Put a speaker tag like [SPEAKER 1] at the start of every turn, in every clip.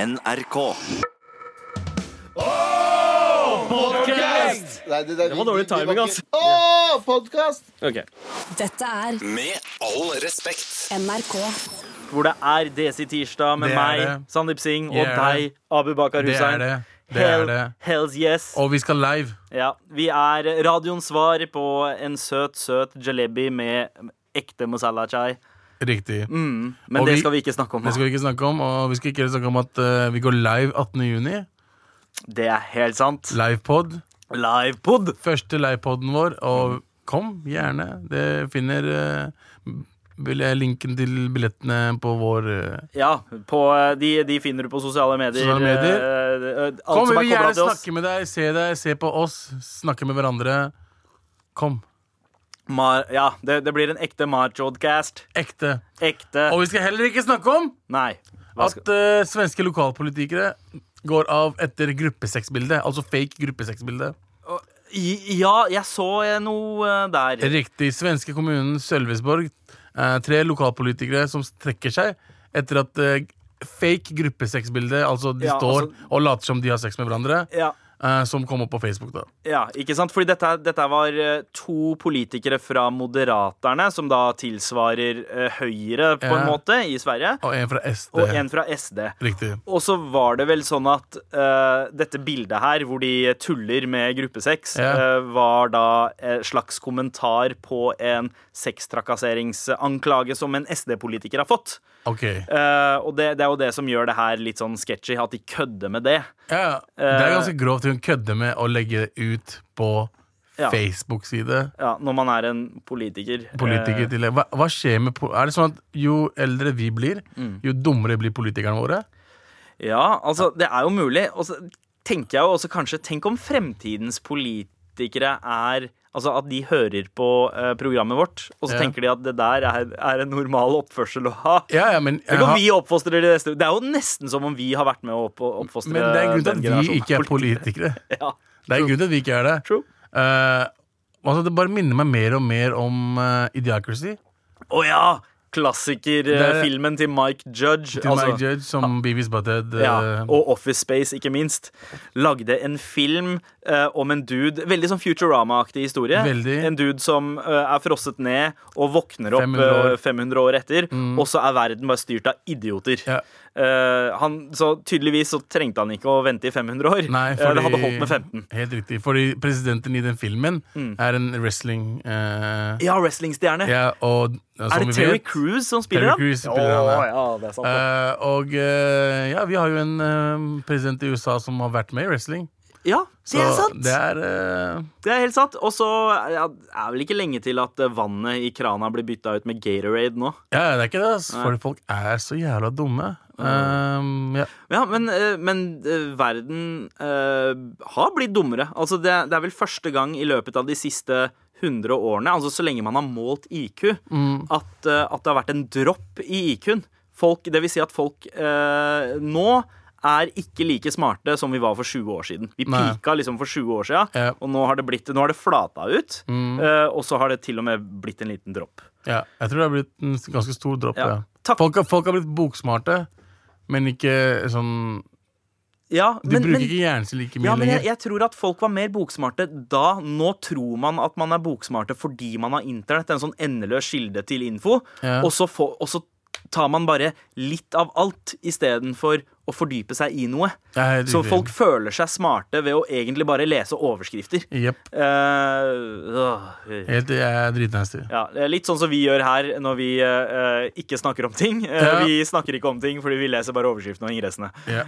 [SPEAKER 1] NRK.
[SPEAKER 2] Nei, det, det,
[SPEAKER 3] Det var dårlig timing, altså.
[SPEAKER 2] Åh, podkast!
[SPEAKER 3] Ok.
[SPEAKER 4] Dette er
[SPEAKER 1] Med all respekt.
[SPEAKER 4] NRK.
[SPEAKER 3] Hvor det er Desi Tirsdag med
[SPEAKER 5] Det er
[SPEAKER 3] meg,
[SPEAKER 5] det.
[SPEAKER 3] Sandeep Singh,
[SPEAKER 5] Det
[SPEAKER 3] og
[SPEAKER 5] er
[SPEAKER 3] deg, Abu Bakar
[SPEAKER 5] Det er
[SPEAKER 3] Hussein.
[SPEAKER 5] det. Det er
[SPEAKER 3] Hell-
[SPEAKER 5] det.
[SPEAKER 3] Hells yes.
[SPEAKER 5] Og vi skal live.
[SPEAKER 3] Ja, vi er radioens svar på en søt, søt jalebi med ekte masala chai.
[SPEAKER 5] Riktig.
[SPEAKER 3] Mm. Men
[SPEAKER 5] Og
[SPEAKER 3] det
[SPEAKER 5] vi-
[SPEAKER 3] skal vi ikke snakke om
[SPEAKER 5] Det
[SPEAKER 3] nå.
[SPEAKER 5] skal vi ikke snakke om. Og vi skal ikke snakke om at eh, vi går live 18.6.
[SPEAKER 3] Det er helt sant.
[SPEAKER 5] Livepod.
[SPEAKER 3] Livepod!
[SPEAKER 5] Første livepoden vår.
[SPEAKER 3] Mm.
[SPEAKER 5] Og kom gjerne. Det finner eh, vil jeg linken til billettene på vår eh,
[SPEAKER 3] Ja, på, eh, de, de finner du på sosiale medier.
[SPEAKER 5] Sosiale medier.
[SPEAKER 3] eh, eh, alt
[SPEAKER 5] Kom,
[SPEAKER 3] som er
[SPEAKER 5] vi
[SPEAKER 3] koblet
[SPEAKER 5] vil gjerne
[SPEAKER 3] til oss.
[SPEAKER 5] snakke med deg, se deg, se på oss, snakke med hverandre. Kom.
[SPEAKER 3] Mar ja, det, det blir en ekte Marchodcast.
[SPEAKER 5] Ekte.
[SPEAKER 3] Ekte
[SPEAKER 5] Og vi skal heller ikke snakke om
[SPEAKER 3] Nei. Hva skal
[SPEAKER 5] at eh, svenske lokalpolitikere går av etter gruppesexbildet. Altså fake gruppesexbilde.
[SPEAKER 3] I- Ja, jeg så eh, noe eh, der.
[SPEAKER 5] Riktig. Svenske kommunen Sølvesborg. eh, tre lokalpolitikere som trekker seg etter at eh, fake gruppesexbilde, altså de
[SPEAKER 3] Ja,
[SPEAKER 5] står
[SPEAKER 3] altså-
[SPEAKER 5] og later som de har sex med hverandre,
[SPEAKER 3] Ja,
[SPEAKER 5] eh, som kom opp på Facebook, da.
[SPEAKER 3] ja, ikke sant? Fordi dette, dette var eh, to politikere fra Moderaterne, som da tilsvarer eh, Høyre på en
[SPEAKER 5] Ja.
[SPEAKER 3] måte i Sverige,
[SPEAKER 5] Og en fra SD.
[SPEAKER 3] og en fra SD.
[SPEAKER 5] Riktig.
[SPEAKER 3] Og så var det vel sånn at eh, dette bildet her, hvor de tuller med gruppesex,
[SPEAKER 5] Ja.
[SPEAKER 3] eh, var da en slags kommentar på en sextrakasseringsanklage som en SD-politiker har fått.
[SPEAKER 5] OK.
[SPEAKER 3] Eh, og det, det er jo det som gjør det her litt sånn sketchy, at de kødder med det.
[SPEAKER 5] Ja, det er ganske grovt hun kødder med å legge det ut på
[SPEAKER 3] Ja.
[SPEAKER 5] Facebook-side.
[SPEAKER 3] Ja, når man er en politiker.
[SPEAKER 5] Politiker
[SPEAKER 3] Eh,
[SPEAKER 5] til hva, hva skjer med po- Er det sånn at jo eldre vi blir,
[SPEAKER 3] Mm.
[SPEAKER 5] jo dummere blir politikerne våre?
[SPEAKER 3] ja, altså, det er jo mulig. Og så tenker jeg jo også kanskje Tenk om fremtidens politikere er Altså at de hører på eh, programmet vårt, og så
[SPEAKER 5] Ja.
[SPEAKER 3] tenker de at det der er, er en normal oppførsel å ha.
[SPEAKER 5] Ja, ja, men
[SPEAKER 3] Tenk om
[SPEAKER 5] jeg
[SPEAKER 3] vi
[SPEAKER 5] har-
[SPEAKER 3] oppfostrer de neste Det er jo nesten som om vi har vært med å opp, oppfostre
[SPEAKER 5] Men det er en grunn
[SPEAKER 3] den
[SPEAKER 5] til at vi
[SPEAKER 3] generasjonen
[SPEAKER 5] ikke er
[SPEAKER 3] politikere.
[SPEAKER 5] politikere.
[SPEAKER 3] Ja,
[SPEAKER 5] Det er en grunn til at vi ikke er det.
[SPEAKER 3] true.
[SPEAKER 5] Eh, altså det bare minner meg mer og mer om eh, Idiocracy.
[SPEAKER 3] Å ja!
[SPEAKER 5] er-
[SPEAKER 3] Klassikerfilmen til Mike Judge.
[SPEAKER 5] Til Mike Judge som Beavis Butthead. eh,
[SPEAKER 3] Altså, Ja, og Office Space, ikke minst, lagde en film eh, om en dude Veldig sånn Futurama-aktig historie.
[SPEAKER 5] Veldig.
[SPEAKER 3] En dude som eh, er frosset ned og våkner opp
[SPEAKER 5] 500 år. Mm.
[SPEAKER 3] eh, 500 år etter, og så er verden bare styrt av idioter.
[SPEAKER 5] Ja.
[SPEAKER 3] Eh, han, så tydeligvis så trengte han ikke å vente i 500 år.
[SPEAKER 5] Nei,
[SPEAKER 3] Eh,
[SPEAKER 5] fordi,
[SPEAKER 3] det hadde holdt med Mm. 15.
[SPEAKER 5] Helt riktig. Fordi presidenten i den filmen er en wrestling eh,
[SPEAKER 3] Ja, wrestlingstjerne.
[SPEAKER 5] ja, og, ja, som
[SPEAKER 3] er det
[SPEAKER 5] vi
[SPEAKER 3] Terry
[SPEAKER 5] vet-
[SPEAKER 3] Crews som
[SPEAKER 5] Terry
[SPEAKER 3] spiller ham?
[SPEAKER 5] Crews spiller han, ja.
[SPEAKER 3] ja, det er sant. det.
[SPEAKER 5] Eh, og eh, ja, vi har jo en eh, president i USA som har vært med i wrestling.
[SPEAKER 3] ja, det er sant!
[SPEAKER 5] det er eh,
[SPEAKER 3] Det er helt sant. Og så ja, er vel ikke lenge til at eh, vannet i krana blir bytta ut med Gatorade nå.
[SPEAKER 5] Ja, det er ikke det. ass. For folk er så jævla dumme. Eh, ja.
[SPEAKER 3] Ja, men, eh, men eh, verden eh, har blitt dummere. Altså, det, det er vel første gang i løpet av de siste 100 årene, altså så lenge man har målt IQ,
[SPEAKER 5] Mm.
[SPEAKER 3] at, eh, at det har vært en dropp i IQ-en. Folk, det vil si at folk eh, nå er ikke like smarte som vi var for 20 år siden. Vi
[SPEAKER 5] Nei.
[SPEAKER 3] pika liksom for 20 år siden,
[SPEAKER 5] Ja. Mm.
[SPEAKER 3] og nå har det, blitt, nå har det flata ut. eh, og så har det til og med blitt en liten dropp.
[SPEAKER 5] Ja, jeg tror det har blitt en s- ganske stor dropp.
[SPEAKER 3] Ja.
[SPEAKER 5] Ja.
[SPEAKER 3] Takk.
[SPEAKER 5] Folk, har- folk har blitt boksmarte, men ikke sånn
[SPEAKER 3] Ja,
[SPEAKER 5] De bruker ikke hjernen sin like mye
[SPEAKER 3] Ja, men jeg,
[SPEAKER 5] lenger.
[SPEAKER 3] jeg tror at folk var mer boksmarte da. Nå tror man at man er boksmarte fordi man har internett, en sånn endeløs kilde til info.
[SPEAKER 5] Ja.
[SPEAKER 3] Og, så få, og så tar man bare litt av alt istedenfor å fordype seg i noe.
[SPEAKER 5] Jeg er helt
[SPEAKER 3] Så
[SPEAKER 5] uenig.
[SPEAKER 3] folk føler seg smarte ved å egentlig bare lese overskrifter.
[SPEAKER 5] Jepp.
[SPEAKER 3] Eh, øh.
[SPEAKER 5] Helt jeg er dritnasty.
[SPEAKER 3] Ja, litt sånn som vi gjør her når vi eh, ikke snakker om ting. Eh,
[SPEAKER 5] Ja.
[SPEAKER 3] Vi snakker ikke om ting fordi vi leser bare overskriftene og ingressene.
[SPEAKER 5] Ja.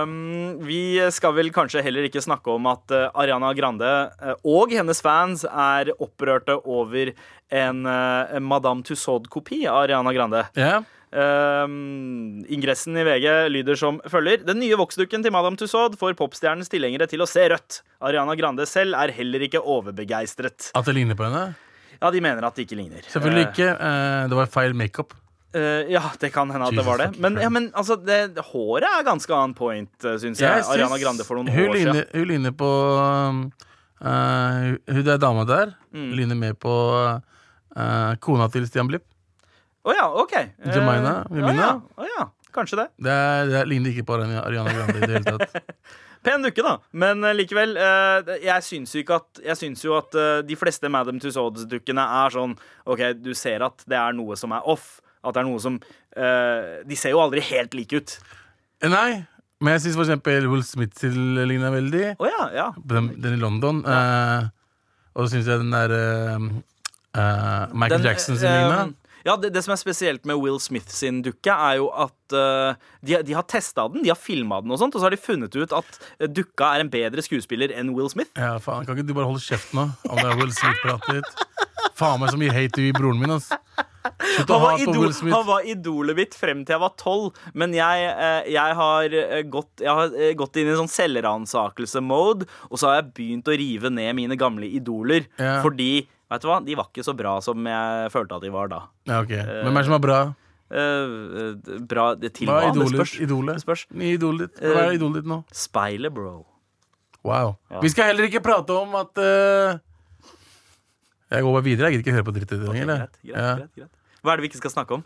[SPEAKER 3] Um, vi skal vel kanskje heller ikke snakke om at eh, Ariana Grande eh, og hennes fans er opprørte over en eh, Madame Tussaud-kopi av Ariana Grande.
[SPEAKER 5] Ja.
[SPEAKER 3] Um, ingressen i VG lyder som følger. Den nye voksdukken til Madame Tussaud får popstjernens tilhengere til å se rødt. Ariana Grande selv er heller ikke overbegeistret.
[SPEAKER 5] At det ligner på henne?
[SPEAKER 3] Ja, de mener at de ikke ligner.
[SPEAKER 5] Selvfølgelig
[SPEAKER 3] Eh,
[SPEAKER 5] ikke. eh, det var feil makeup.
[SPEAKER 3] Eh, ja, det kan hende at det
[SPEAKER 5] Jesus
[SPEAKER 3] var det.
[SPEAKER 5] fucking
[SPEAKER 3] Men, ja,
[SPEAKER 5] Christ.
[SPEAKER 3] men altså, det, håret er ganske on point, eh, syns jeg.
[SPEAKER 5] Jeg syns
[SPEAKER 3] Ariana Grande for noen
[SPEAKER 5] hun
[SPEAKER 3] år
[SPEAKER 5] ligner,
[SPEAKER 3] siden.
[SPEAKER 5] Hun ligner på um, eh, Hun der dama der
[SPEAKER 3] Mm.
[SPEAKER 5] ligner mer på eh, kona til Stian Blipp.
[SPEAKER 3] Å ja, OK. Eh,
[SPEAKER 5] Jemina,
[SPEAKER 3] å
[SPEAKER 5] Jemina?
[SPEAKER 3] ja, å ja. Kanskje det.
[SPEAKER 5] Det, er, det er- ligner ikke på Ariana Ariana Grande i det hele tatt.
[SPEAKER 3] Pen dukke, da. Men eh, likevel, eh, jeg syns jo, ikke at, jeg syns jo at eh, de fleste Madam Tussauds-dukkene er sånn OK, du ser at det er noe som er off. At det er noe som eh, De ser jo aldri helt like ut.
[SPEAKER 5] Eh, Nei, men jeg syns for eksempel Will Smith til ligner veldig.
[SPEAKER 3] Å ja, ja.
[SPEAKER 5] Den, den i London. eh, og så syns jeg den der eh, eh, Michael
[SPEAKER 3] Den,
[SPEAKER 5] Jackson sin
[SPEAKER 3] eh,
[SPEAKER 5] ligner.
[SPEAKER 3] Ja, det, det som er spesielt med Will Smith sin dukke, er jo at eh, de, de har testa den, de har filma den, og sånt, og så har de funnet ut at eh, dukka er en bedre skuespiller enn Will Smith.
[SPEAKER 5] Ja, faen, Kan ikke du bare holde kjeft nå om det er Will Smith-pratet ditt? Faen meg så mye hate du gir broren min, ass. Slutt å
[SPEAKER 3] Han var,
[SPEAKER 5] hate på Will
[SPEAKER 3] idol, han
[SPEAKER 5] Smith.
[SPEAKER 3] var idolet mitt frem til jeg var tolv, men jeg, eh, jeg, har eh, gått, jeg har eh, gått inn i en sånn selvransakelse-mode, og så har jeg begynt å rive ned mine gamle idoler.
[SPEAKER 5] Ja.
[SPEAKER 3] Fordi, vet du hva, de var ikke så bra som jeg følte at de var da.
[SPEAKER 5] Ja, ok. Hvem er det som er bra?
[SPEAKER 3] Eh, eh, bra det til
[SPEAKER 5] Hva
[SPEAKER 3] hva?
[SPEAKER 5] er
[SPEAKER 3] Det
[SPEAKER 5] idolet
[SPEAKER 3] spørs.
[SPEAKER 5] ditt? Idolet?
[SPEAKER 3] Det spørs. Eh,
[SPEAKER 5] Nye idolet ditt? Hva er idolet ditt nå?
[SPEAKER 3] Speilet, bro.
[SPEAKER 5] Wow. Vi skal heller ikke prate om at eh, Jeg går bare videre. Jeg gidder ikke høre på dritt i dag.
[SPEAKER 3] Ok,
[SPEAKER 5] eller?
[SPEAKER 3] greit, greit, greit, greit. Hva er det vi ikke skal snakke om?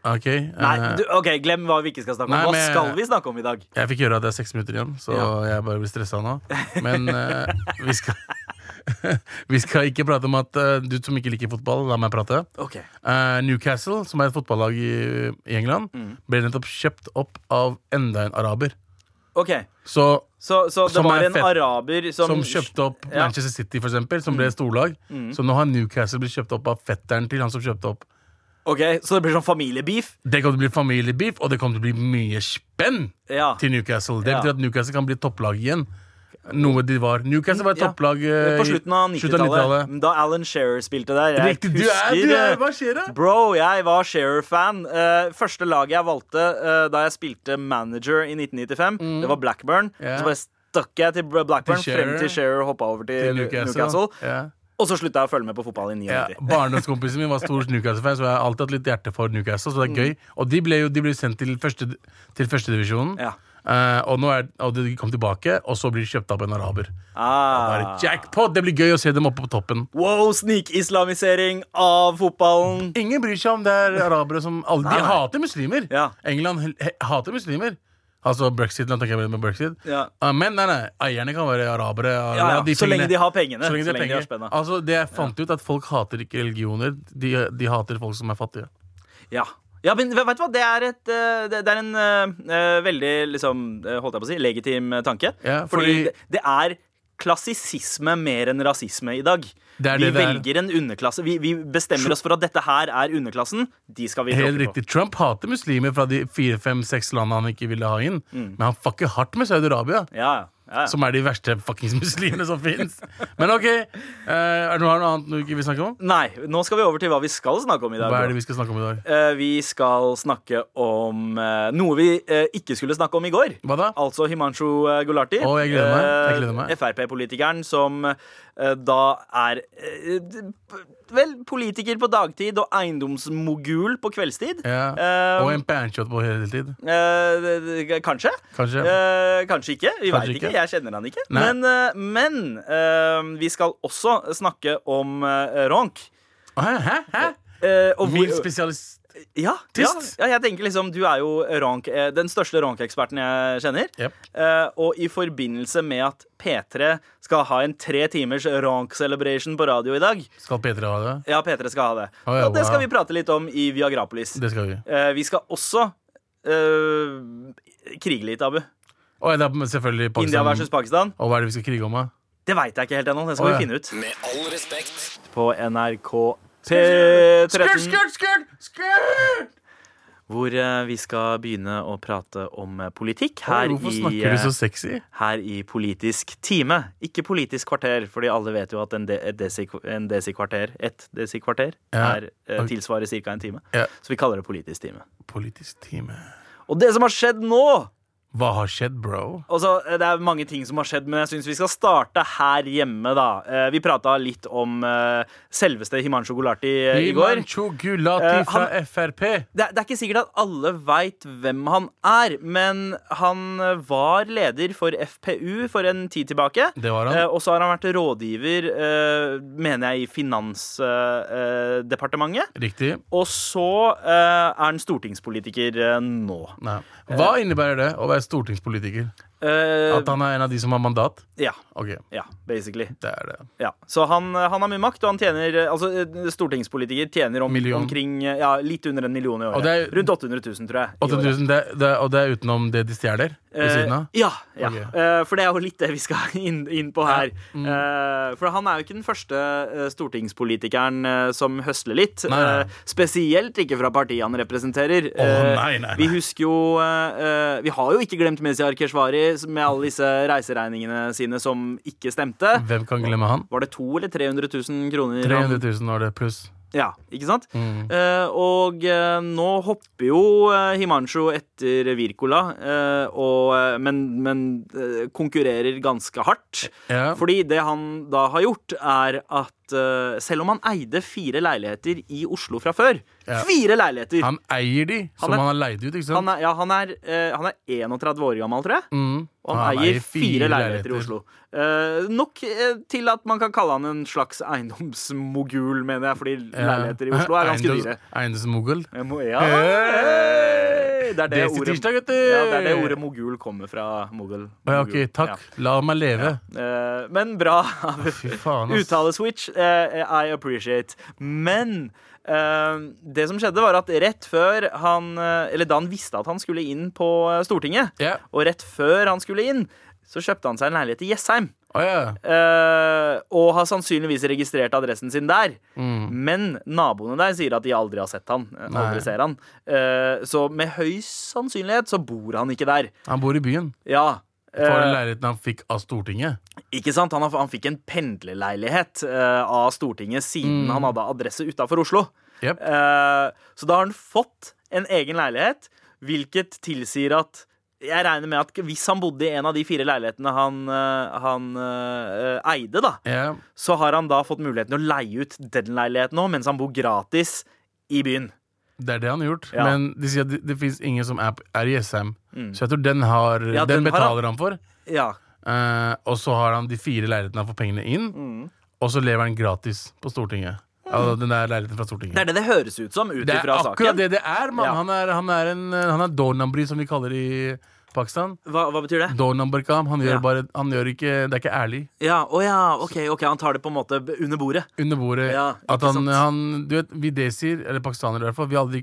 [SPEAKER 5] Ja, ok. eh,
[SPEAKER 3] Nei, du, ok, Glem hva vi ikke skal snakke om.
[SPEAKER 5] Nei,
[SPEAKER 3] Hva
[SPEAKER 5] men-
[SPEAKER 3] skal vi snakke om i dag?
[SPEAKER 5] Jeg fikk høre at det er seks minutter igjen, så
[SPEAKER 3] Ja.
[SPEAKER 5] jeg bare blir stressa nå. Men eh, vi skal Vi skal ikke prate om at eh, du som ikke liker fotball, la meg prate.
[SPEAKER 3] Ok
[SPEAKER 5] Eh, Newcastle, som er et fotballag i, i England,
[SPEAKER 3] Mm.
[SPEAKER 5] ble nettopp kjøpt opp av enda en araber.
[SPEAKER 3] Ok,
[SPEAKER 5] Så
[SPEAKER 3] Så, så det
[SPEAKER 5] Som
[SPEAKER 3] var
[SPEAKER 5] er
[SPEAKER 3] en
[SPEAKER 5] fett.
[SPEAKER 3] araber som,
[SPEAKER 5] som kjøpte opp
[SPEAKER 3] Ja. Mm.
[SPEAKER 5] Manchester City, for eksempel, som ble et storlag. Så nå har Newcastle blitt kjøpt opp av fetteren til han som kjøpte opp.
[SPEAKER 3] Ok, Så det blir sånn familiebeef?
[SPEAKER 5] Det kommer til å bli familiebeef, og det kommer til å bli mye spenn
[SPEAKER 3] Ja.
[SPEAKER 5] til Newcastle. Det
[SPEAKER 3] Ah. Ja.
[SPEAKER 5] betyr at Newcastle kan bli et topplag igjen. Noe de var. Newcastle var et
[SPEAKER 3] Ja.
[SPEAKER 5] topplag eh,
[SPEAKER 3] På slutten av
[SPEAKER 5] i-
[SPEAKER 3] 90-tallet. da Alan Shearer spilte der. Jeg
[SPEAKER 5] Riktig. Du er, du er, hva skjer da?
[SPEAKER 3] Bro, jeg var Shearer-fan. Eh, første laget jeg valgte eh, da jeg spilte manager i 1995, det var Blackburn.
[SPEAKER 5] Mm. Ja.
[SPEAKER 3] Så bare stakk jeg til Blackburn
[SPEAKER 5] Til
[SPEAKER 3] frem
[SPEAKER 5] Shearer.
[SPEAKER 3] til Shearer hoppa over til,
[SPEAKER 5] Til
[SPEAKER 3] Eh, Newcastle.
[SPEAKER 5] Ja.
[SPEAKER 3] Og så slutta jeg å følge med på fotball i
[SPEAKER 5] Ja,
[SPEAKER 3] 99.
[SPEAKER 5] Barndomskompisen min var stor Newcastle-fan, så jeg har alltid hatt litt hjerte for Newcastle. Så det
[SPEAKER 3] Mm.
[SPEAKER 5] er gøy Og de ble jo de ble sendt til, første, til førstedivisjonen.
[SPEAKER 3] Ja.
[SPEAKER 5] Eh, og, nå er, og de kom tilbake, og så blir de kjøpt opp av en araber. Bare
[SPEAKER 3] Ah.
[SPEAKER 5] jackpot! Det blir gøy å se dem oppe på toppen.
[SPEAKER 3] Wow, snikislamisering av fotballen.
[SPEAKER 5] Ingen bryr seg om det er arabere som alle,
[SPEAKER 3] Nei,
[SPEAKER 5] De
[SPEAKER 3] nei.
[SPEAKER 5] hater muslimer.
[SPEAKER 3] Ja.
[SPEAKER 5] England he- he- hater muslimer. Altså brexit. Nå tenker jeg bare med brexit.
[SPEAKER 3] Ja.
[SPEAKER 5] Ah, men nei, nei, eierne kan være arabere. og-
[SPEAKER 3] Ja, ja.
[SPEAKER 5] de
[SPEAKER 3] så lenge
[SPEAKER 5] pengene-
[SPEAKER 3] de har pengene.
[SPEAKER 5] så lenge de har penger.
[SPEAKER 3] spenna.
[SPEAKER 5] altså, det jeg fant ut, at folk hater ikke religioner. De, de hater folk som er fattige.
[SPEAKER 3] Ja. ja, men vet du hva? Det er, et, eh, det det er en eh, eh, veldig liksom, eh, holdt jeg på å si, legitim eh, tanke.
[SPEAKER 5] Ja,
[SPEAKER 3] fordi
[SPEAKER 5] fordi-
[SPEAKER 3] det, det er klassisisme mer enn rasisme i dag.
[SPEAKER 5] Det er
[SPEAKER 3] vi
[SPEAKER 5] det det er.
[SPEAKER 3] velger en underklasse. Vi, vi bestemmer oss for at dette her er underklassen. De skal vi
[SPEAKER 5] Helt
[SPEAKER 3] tråkke på.
[SPEAKER 5] riktig. Trump hater muslimer fra de fire, fem, seks landene han ikke ville ha inn. Men han fucker hardt med Saudi-Arabia.
[SPEAKER 3] Ja, Mm. ja, ja.
[SPEAKER 5] Som er de verste fuckings muslimene som fins. Men OK. eh, er det noe, er det noe annet du ikke vil snakke om?
[SPEAKER 3] Nei, nå skal vi over til hva vi skal snakke om i dag.
[SPEAKER 5] Hva er
[SPEAKER 3] bro.
[SPEAKER 5] det vi skal snakke om i dag?
[SPEAKER 3] Eh, vi skal snakke om eh, noe vi eh, ikke skulle snakke om i går.
[SPEAKER 5] Hva da?
[SPEAKER 3] Altså Himanshu eh, Gulati.
[SPEAKER 5] Å, jeg gleder meg. Jeg gleder meg.
[SPEAKER 3] Eh, Frp-politikeren som eh, da er eh, d- p- Vel, politiker på dagtid og eiendomsmogul på kveldstid.
[SPEAKER 5] Ja.
[SPEAKER 3] Eh,
[SPEAKER 5] Og en panchet på heltid.
[SPEAKER 3] eh, d- d- kanskje.
[SPEAKER 5] Kanskje.
[SPEAKER 3] Eh, kanskje ikke. Vi
[SPEAKER 5] Kanskje
[SPEAKER 3] veit ikke.
[SPEAKER 5] ikke.
[SPEAKER 3] Jeg kjenner han ikke.
[SPEAKER 5] Nei.
[SPEAKER 3] Men, eh, men eh, vi skal også snakke om eh, Ronk.
[SPEAKER 5] Hæ? Hæ? Hæ?
[SPEAKER 3] Eh, og vi-
[SPEAKER 5] Min spesialist
[SPEAKER 3] ja, ja,
[SPEAKER 5] Tyst.
[SPEAKER 3] ja, jeg tenker liksom Du er jo rank, eh, den største rank-eksperten jeg kjenner.
[SPEAKER 5] Jep.
[SPEAKER 3] Eh, og i forbindelse med at P3 skal ha en tre timers rank-celebration på radio i dag
[SPEAKER 5] Skal Petra ha det?
[SPEAKER 3] Ja, P3 skal ha det.
[SPEAKER 5] Å ja,
[SPEAKER 3] og det skal vi
[SPEAKER 5] wow.
[SPEAKER 3] prate litt om i Viagrapolis.
[SPEAKER 5] Det skal vi.
[SPEAKER 3] Eh, vi skal også eh, krige litt, Abu.
[SPEAKER 5] Og det er selvfølgelig Pakistan.
[SPEAKER 3] India versus Pakistan.
[SPEAKER 5] Og hva er det vi skal krige om, da?
[SPEAKER 3] Det veit jeg ikke helt ennå. Det skal
[SPEAKER 5] Å ja.
[SPEAKER 3] vi finne ut.
[SPEAKER 1] Med all respekt.
[SPEAKER 3] På NRK P13.
[SPEAKER 5] skurt, skurt!
[SPEAKER 3] Hvor eh, vi skal begynne å prate om eh, politikk her
[SPEAKER 5] Hvorfor
[SPEAKER 3] i
[SPEAKER 5] snakker du
[SPEAKER 3] eh,
[SPEAKER 5] så sexy?
[SPEAKER 3] her i Politisk time. Ikke Politisk kvarter, fordi alle vet jo at en, de, et desi- en desikvarter Et desikvarter
[SPEAKER 5] Ja.
[SPEAKER 3] er, eh,
[SPEAKER 5] Ok.
[SPEAKER 3] tilsvarer ca. en time.
[SPEAKER 5] Ja.
[SPEAKER 3] Så vi kaller det Politisk time.
[SPEAKER 5] Politisk time.
[SPEAKER 3] Og det som har skjedd nå,
[SPEAKER 5] Hva har skjedd, bro?
[SPEAKER 3] Og så, eh, det er mange ting som har skjedd, men jeg syns vi skal starte her hjemme. da. Eh, Vi prata litt om eh, selveste Himanshu Gulati eh, i går.
[SPEAKER 5] Himancho Gulati
[SPEAKER 3] Eh,
[SPEAKER 5] fra
[SPEAKER 3] han-
[SPEAKER 5] Frp.
[SPEAKER 3] Det, det er ikke sikkert at alle veit hvem han er, men han eh, var leder for FPU for en tid tilbake.
[SPEAKER 5] Det var han.
[SPEAKER 3] Eh, og så har han vært rådgiver, eh, mener jeg, i Finansdepartementet.
[SPEAKER 5] Riktig.
[SPEAKER 3] og så eh, er han stortingspolitiker eh, nå.
[SPEAKER 5] Nei. Hva innebærer det å være stortingspolitiker?
[SPEAKER 3] Eh,
[SPEAKER 5] At han er en av de som har mandat?
[SPEAKER 3] ja,
[SPEAKER 5] Ok,
[SPEAKER 3] ja, basically.
[SPEAKER 5] det er det.
[SPEAKER 3] Ja, Så han, han har mye makt, og han tjener eh, Altså, eh, stortingspolitiker tjener om,
[SPEAKER 5] Million.
[SPEAKER 3] omkring eh, Ja, litt under en million i
[SPEAKER 5] Og
[SPEAKER 3] året.
[SPEAKER 5] det er-
[SPEAKER 3] Rundt 800 000, tror jeg. i året.
[SPEAKER 5] 8000, det, det, og det er utenom det de stjeler? Ved siden av?
[SPEAKER 3] Eh, Ja, ja.
[SPEAKER 5] Ok. Mm.
[SPEAKER 3] Eh, for det er jo litt det vi skal inn, inn på her. Eh, for han er jo ikke den første eh, stortingspolitikeren eh, som høsler litt.
[SPEAKER 5] Nei, nei.
[SPEAKER 3] Eh, spesielt ikke fra partiet han representerer. Eh,
[SPEAKER 5] nei, nei, nei.
[SPEAKER 3] Vi husker jo eh, eh, Vi har jo ikke glemt Mesiar Keshvari med alle disse reiseregningene sine som ikke stemte.
[SPEAKER 5] Hvem kan glemme han?
[SPEAKER 3] Var det to eller 300 000 kroner? han-
[SPEAKER 5] 300 000 var det pluss.
[SPEAKER 3] ja, ikke sant? Eh, og eh, nå hopper jo eh, Himancho etter Wirkola, eh, og, eh, men, men eh, konkurrerer ganske hardt.
[SPEAKER 5] Ja.
[SPEAKER 3] Fordi det han da har gjort, er at eh, selv om han eide fire leiligheter i Oslo fra før
[SPEAKER 5] Ja.
[SPEAKER 3] Fire leiligheter! Han,
[SPEAKER 5] Han eier de, som
[SPEAKER 3] er-
[SPEAKER 5] han har leid ut, ikke sant?
[SPEAKER 3] er, ja, han, er, eh, han er 31 år gammel, tror jeg.
[SPEAKER 5] Mm.
[SPEAKER 3] Og han, eier fire, leiligheter i Oslo. Eh, nok eh, til at man kan kalle han en slags eiendomsmogul, mener jeg, fordi leiligheter i Oslo er ganske
[SPEAKER 5] Eiendoms-
[SPEAKER 3] dyre.
[SPEAKER 5] Eiendomsmogul.
[SPEAKER 3] Jeg må, ja.
[SPEAKER 5] Hey!
[SPEAKER 3] Det er det,
[SPEAKER 5] Desi
[SPEAKER 3] ordet,
[SPEAKER 5] tirsdag, vet du!
[SPEAKER 3] ja, det er det ordet mogul kommer fra. Mogul.
[SPEAKER 5] Å ja, ok, takk. La meg leve.
[SPEAKER 3] Ja. Eh, Men bra.
[SPEAKER 5] Fy faen, ass.
[SPEAKER 3] Uttaleswitch. eh, I appreciate. Men eh, det som skjedde, var at rett før han eh, Eller da han visste at han skulle inn på eh, Stortinget,
[SPEAKER 5] Ja.
[SPEAKER 3] og rett før han skulle inn, så kjøpte han seg en leilighet i Jessheim.
[SPEAKER 5] Å ja.
[SPEAKER 3] eh, og har sannsynligvis registrert adressen sin der. Men naboene der sier at de aldri har sett han. eh,
[SPEAKER 5] Nei.
[SPEAKER 3] Aldri ser han. Eh, så med høy sannsynlighet så bor han ikke der.
[SPEAKER 5] Han bor i byen.
[SPEAKER 3] Ja.
[SPEAKER 5] Det var den
[SPEAKER 3] eh,
[SPEAKER 5] leiligheten han fikk av Stortinget.
[SPEAKER 3] ikke sant? Han, har- han fikk en pendlerleilighet eh, av Stortinget siden han hadde adresse utafor Oslo.
[SPEAKER 5] Jep.
[SPEAKER 3] Eh, så da har han fått en egen leilighet, hvilket tilsier at jeg regner med at hvis han bodde i en av de fire leilighetene han, eh, han eh, eide, da,
[SPEAKER 5] Ja.
[SPEAKER 3] så har han da fått muligheten til å leie ut den leiligheten òg, mens han bor gratis i byen.
[SPEAKER 5] Det er det han har gjort.
[SPEAKER 3] Ja. Mm.
[SPEAKER 5] Men de sier at det, det fins ingen som er, er i Jessheim. Så jeg tror den, har,
[SPEAKER 3] Ja,
[SPEAKER 5] den,
[SPEAKER 3] den har
[SPEAKER 5] betaler han for.
[SPEAKER 3] Ja.
[SPEAKER 5] Eh, og så har han de fire leilighetene han får pengene inn.
[SPEAKER 3] Mm.
[SPEAKER 5] Og så lever han gratis på Stortinget. Altså, den der leiligheten fra Stortinget.
[SPEAKER 3] Det er det det høres ut som ut
[SPEAKER 5] Det er
[SPEAKER 3] ifra
[SPEAKER 5] akkurat
[SPEAKER 3] saken.
[SPEAKER 5] det det er, mann.
[SPEAKER 3] Ja.
[SPEAKER 5] Han, er, han er en Han er donambri, som de kaller det i Pakistan.
[SPEAKER 3] Hva, hva betyr det?
[SPEAKER 5] Donambarkam. Han gjør
[SPEAKER 3] Ja.
[SPEAKER 5] bare Han gjør ikke Det er ikke ærlig.
[SPEAKER 3] Ja, å ja, ok, ok, han tar det på en måte under bordet.
[SPEAKER 5] Under bordet.
[SPEAKER 3] Ja,
[SPEAKER 5] at
[SPEAKER 3] ikke
[SPEAKER 5] han,
[SPEAKER 3] sant.
[SPEAKER 5] han Du vet, vi desier, eller pakistanere i hvert fall, vi, aldri,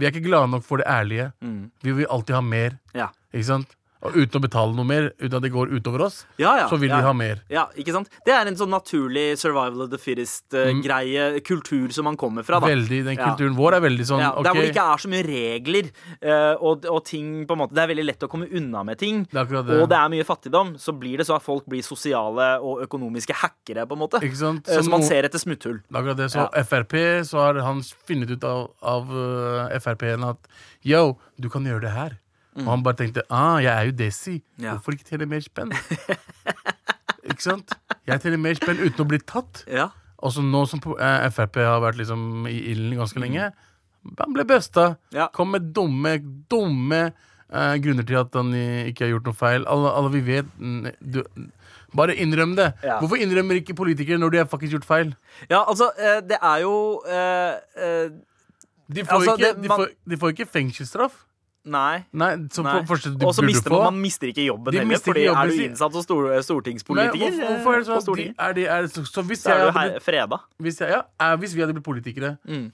[SPEAKER 5] vi er ikke glade nok for det ærlige.
[SPEAKER 3] Mm.
[SPEAKER 5] Vi vil alltid ha mer,
[SPEAKER 3] Ja,
[SPEAKER 5] ikke sant? Og uten å betale noe mer, uten at det går utover oss,
[SPEAKER 3] ja, ja
[SPEAKER 5] så vil
[SPEAKER 3] ja.
[SPEAKER 5] vi ha mer.
[SPEAKER 3] Ja, ikke sant? Det er en sånn naturlig survival of the fittest-greie, kultur som man kommer fra. da
[SPEAKER 5] Mm. Veldig, Den
[SPEAKER 3] Ja.
[SPEAKER 5] kulturen vår er veldig sånn
[SPEAKER 3] ja, Der hvor det
[SPEAKER 5] ok,
[SPEAKER 3] ikke er så mye regler eh, og, og ting på en måte Det er veldig lett å komme unna med ting.
[SPEAKER 5] Det er akkurat det.
[SPEAKER 3] Og det er mye fattigdom, så blir det så at folk blir sosiale og økonomiske hackere, på en måte.
[SPEAKER 5] Ikke sant?
[SPEAKER 3] Eh, Så man
[SPEAKER 5] noe-
[SPEAKER 3] ser etter smutthull.
[SPEAKER 5] Det er akkurat det. Så
[SPEAKER 3] Ja.
[SPEAKER 5] Frp, så har han funnet ut av, av eh, Frp-en at yo, du kan gjøre det her. Og han bare tenkte ah, jeg er jo Desi.
[SPEAKER 3] Mm. Ja.
[SPEAKER 5] Hvorfor ikke tjene mer spenn? ikke sant? Jeg tjener mer spenn uten å bli tatt.
[SPEAKER 3] Ja.
[SPEAKER 5] Og så nå som po- eh, Frp har vært liksom i ilden ganske lenge, han ble busta.
[SPEAKER 3] Mm. Ja.
[SPEAKER 5] Kom med dumme, dumme eh, grunner til at han i- ikke har gjort noe feil. Alle, alle vi vet mm, du, Bare innrøm det.
[SPEAKER 3] Ja.
[SPEAKER 5] Hvorfor innrømmer ikke politikere når de har faktisk gjort feil?
[SPEAKER 3] ja, altså, eh, det er jo eh, eh,
[SPEAKER 5] De får,
[SPEAKER 3] Altså,
[SPEAKER 5] ikke,
[SPEAKER 3] det-
[SPEAKER 5] de,
[SPEAKER 3] man-
[SPEAKER 5] får, de får ikke fengselsstraff.
[SPEAKER 3] Nei.
[SPEAKER 5] Nei, så
[SPEAKER 3] nei.
[SPEAKER 5] for, første du
[SPEAKER 3] Og så
[SPEAKER 5] burde
[SPEAKER 3] mister
[SPEAKER 5] få-
[SPEAKER 3] man, man mister ikke jobben
[SPEAKER 5] De
[SPEAKER 3] heller,
[SPEAKER 5] mister
[SPEAKER 3] fordi
[SPEAKER 5] ikke jobben
[SPEAKER 3] er du
[SPEAKER 5] sin.
[SPEAKER 3] innsatt som stor, eh,
[SPEAKER 5] Nei,
[SPEAKER 3] stortingspolitiker
[SPEAKER 5] hvorfor, hvorfor er det
[SPEAKER 3] eh, på
[SPEAKER 5] sånn at de,
[SPEAKER 3] Stortinget,
[SPEAKER 5] er de, er, så, så hvis,
[SPEAKER 3] så
[SPEAKER 5] jeg
[SPEAKER 3] er du
[SPEAKER 5] hadde,
[SPEAKER 3] her Mm. freda.
[SPEAKER 5] blitt- hvis, jeg, ja, eh, hvis vi hadde blitt politikere,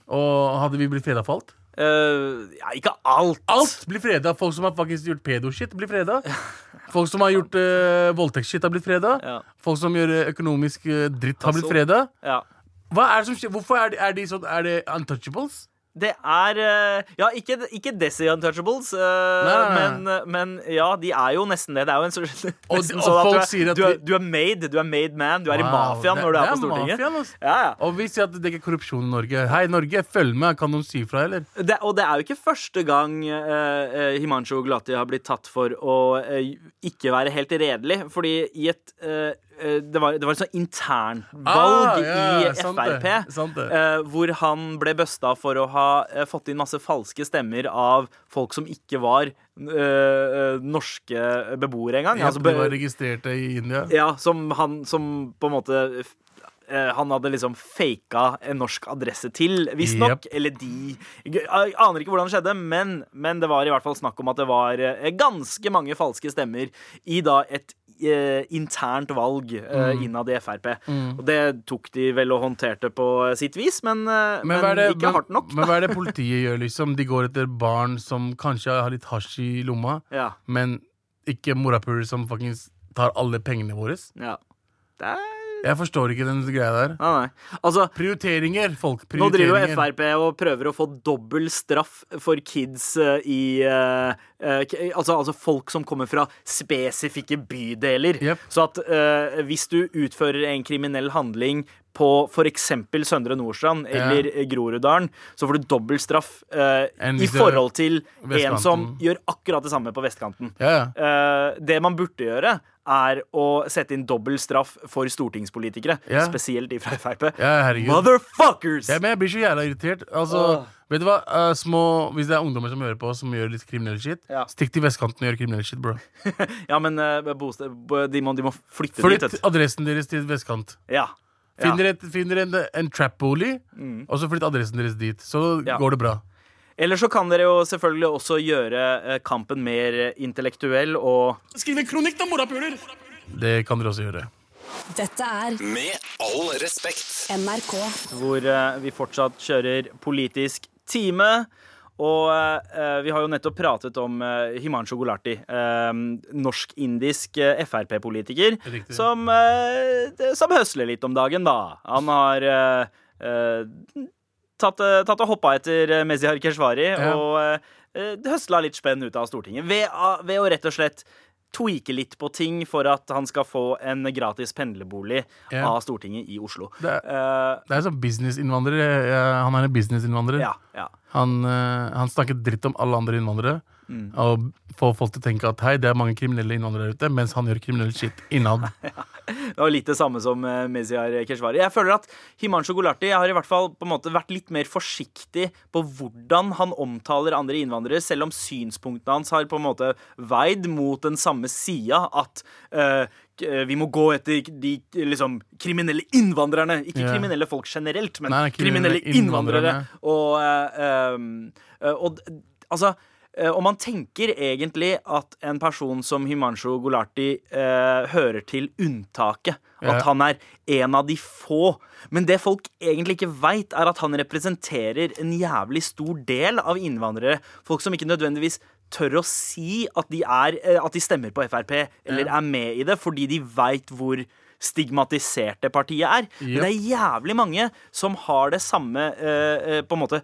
[SPEAKER 5] og hadde vi blitt freda for alt
[SPEAKER 3] Eh, ja, ikke alt.
[SPEAKER 5] Alt blir freda! Folk som har faktisk gjort pedo-shit, blir freda. Folk som har gjort uh, voldtektsshit, har blitt freda.
[SPEAKER 3] Ja.
[SPEAKER 5] Folk som gjør eh, økonomisk eh, dritt, har blitt
[SPEAKER 3] Altså.
[SPEAKER 5] freda.
[SPEAKER 3] Ja.
[SPEAKER 5] Hva er det som skjer? Hvorfor er de, er de sånn Er det untouchables?
[SPEAKER 3] Det er eh, Ja, ikke, ikke Desi Untouchables, eh,
[SPEAKER 5] nei, nei.
[SPEAKER 3] Men, eh, men ja, de er jo nesten det. Det er jo en sånn
[SPEAKER 5] Og-
[SPEAKER 3] nesten
[SPEAKER 5] og
[SPEAKER 3] sånn at
[SPEAKER 5] folk
[SPEAKER 3] du er,
[SPEAKER 5] sier at
[SPEAKER 3] du, er,
[SPEAKER 5] vi-
[SPEAKER 3] du er made. Du er made man. Du er i
[SPEAKER 5] Wow,
[SPEAKER 3] mafiaen
[SPEAKER 5] det-
[SPEAKER 3] når du er
[SPEAKER 5] det
[SPEAKER 3] på Stortinget.
[SPEAKER 5] mafiaen, ass.
[SPEAKER 3] ja, ja.
[SPEAKER 5] Og vi sier at det ikke er korrupsjon i Norge. Hei, Norge, følg med. Kan noen si fra, eller?
[SPEAKER 3] Det, og det er jo ikke første gang uh, Himanshu Gulati har blitt tatt for å eh, ikke være helt redelig. Fordi i et eh, eh, det, var, det var et sånt internvalg
[SPEAKER 5] Ah, ja,
[SPEAKER 3] i
[SPEAKER 5] sant det,
[SPEAKER 3] Frp
[SPEAKER 5] sant det.
[SPEAKER 3] eh, hvor han ble busta for å ha eh, fått inn masse falske stemmer av folk som ikke var eh, eh, norske beboere engang.
[SPEAKER 5] Ja,
[SPEAKER 3] Altså,
[SPEAKER 5] de var
[SPEAKER 3] be-
[SPEAKER 5] registrerte i India.
[SPEAKER 3] ja, som han som på en måte eh, Han hadde liksom faka en norsk adresse til, visstnok.
[SPEAKER 5] Jep.
[SPEAKER 3] Eller de. Jeg aner ikke hvordan det skjedde, men, men det var i hvert fall snakk om at det var eh, ganske mange falske stemmer i da et eh, internt valg eh,
[SPEAKER 5] Mm.
[SPEAKER 3] innad i Frp. Og det tok de vel og håndterte på sitt vis, men, eh, men,
[SPEAKER 5] hva er det-
[SPEAKER 3] ikke hardt nok.
[SPEAKER 5] Men, men hva er det politiet gjør, liksom? De går etter barn som kanskje har litt hasj i lomma,
[SPEAKER 3] Ja,
[SPEAKER 5] men ikke morapuler som fuckings tar alle pengene våre.
[SPEAKER 3] ja. Det er
[SPEAKER 5] Jeg forstår ikke den greia der.
[SPEAKER 3] Nei, nei. Altså,
[SPEAKER 5] Prioriteringer, folk.
[SPEAKER 3] Nå driver jo
[SPEAKER 5] Prioriteringer.
[SPEAKER 3] Frp og prøver å få dobbel straff for kids eh, i eh, eh, k- altså, altså folk som kommer fra spesifikke bydeler.
[SPEAKER 5] Jep.
[SPEAKER 3] Så at eh, hvis du utfører en kriminell handling på f.eks. Søndre Nordstrand eller Groruddalen, så får du dobbel straff eh,
[SPEAKER 5] Enn
[SPEAKER 3] i
[SPEAKER 5] hvis du-
[SPEAKER 3] forhold til en
[SPEAKER 5] Vestkanten.
[SPEAKER 3] som gjør akkurat det samme på vestkanten.
[SPEAKER 5] Ja, ja.
[SPEAKER 3] Eh, det man burde gjøre, er å sette inn dobbel straff for stortingspolitikere.
[SPEAKER 5] Ja.
[SPEAKER 3] Spesielt de fra Frp.
[SPEAKER 5] Ja, herregud.
[SPEAKER 3] Motherfuckers!
[SPEAKER 5] Ja, men jeg blir så jævla irritert. Altså,
[SPEAKER 3] Åh.
[SPEAKER 5] vet du hva? Eh, små, hvis det er ungdommer som hører på, som gjør litt kriminell shit,
[SPEAKER 3] Ja.
[SPEAKER 5] stikk til vestkanten og gjør kriminell shit, bro.
[SPEAKER 3] Ja, men eh, bosted, bo- de, må, de må flytte dit.
[SPEAKER 5] Flytt
[SPEAKER 3] vet du.
[SPEAKER 5] adressen deres til vestkant.
[SPEAKER 3] Ja. Ja. Mm.
[SPEAKER 5] Finn dere et- finn dere en, en trap-bolig, og så flytt adressen deres dit. Så
[SPEAKER 3] Ja.
[SPEAKER 5] går det bra.
[SPEAKER 3] Eller så kan dere jo selvfølgelig også gjøre eh, kampen mer eh, intellektuell og
[SPEAKER 5] Det kan dere også gjøre.
[SPEAKER 4] Dette er
[SPEAKER 1] Med all respekt.
[SPEAKER 4] NRK.
[SPEAKER 3] hvor eh, vi fortsatt kjører politisk time. Og eh, vi har jo nettopp pratet om eh, Himanshu Gulati, eh, norsk-indisk eh, Frp-politiker,
[SPEAKER 5] Riktig.
[SPEAKER 3] som, eh, det- som høsler litt om dagen, da. Han har eh, eh, tatt, eh, tatt og hoppa etter eh, Mezihar Keshvari
[SPEAKER 5] Ja.
[SPEAKER 3] og eh, eh, høsla litt spenn ut av Stortinget ved, å- ved å rett og slett tweake litt på ting for at han skal få en gratis pendlerbolig
[SPEAKER 5] Ja.
[SPEAKER 3] av Stortinget i Oslo.
[SPEAKER 5] Det er-
[SPEAKER 3] Eh,
[SPEAKER 5] Det er sånn businessinnvandrer. eh, Han er en businessinnvandrer.
[SPEAKER 3] ja, ja.
[SPEAKER 5] Han, eh, han snakker dritt om alle andre innvandrere.
[SPEAKER 3] Mm.
[SPEAKER 5] Og får folk til å tenke at hei, det er mange kriminelle innvandrere der ute, mens han gjør kriminell shit innad.
[SPEAKER 3] Eh. Det var litt det samme som eh, Mezihar Keshvari. Jeg føler at Himanshu Gulati har i hvert fall på en måte vært litt mer forsiktig på hvordan han omtaler andre innvandrere, selv om synspunktene hans har på en måte veid mot den samme sida. At eh, k- eh, vi må gå etter de liksom, kriminelle innvandrerne. Ikke
[SPEAKER 5] Ja.
[SPEAKER 3] kriminelle folk generelt, men
[SPEAKER 5] Nei,
[SPEAKER 3] kriminelle
[SPEAKER 5] kriminelle
[SPEAKER 3] innvandrere.
[SPEAKER 5] innvandrerne.
[SPEAKER 3] Og, eh, um, eh, og d- altså eh, og man tenker egentlig at en person som Himanshu Gulati eh, hører til unntaket.
[SPEAKER 5] Ja.
[SPEAKER 3] At han er en av de få. Men det folk egentlig ikke veit, er at han representerer en jævlig stor del av innvandrere. Folk som ikke nødvendigvis tør å si at de, er, eh, at de stemmer på Frp, eller er med i det, fordi de veit hvor stigmatiserte partiet er. Men
[SPEAKER 5] Jep.
[SPEAKER 3] det er jævlig mange som har det samme eh, eh, på en måte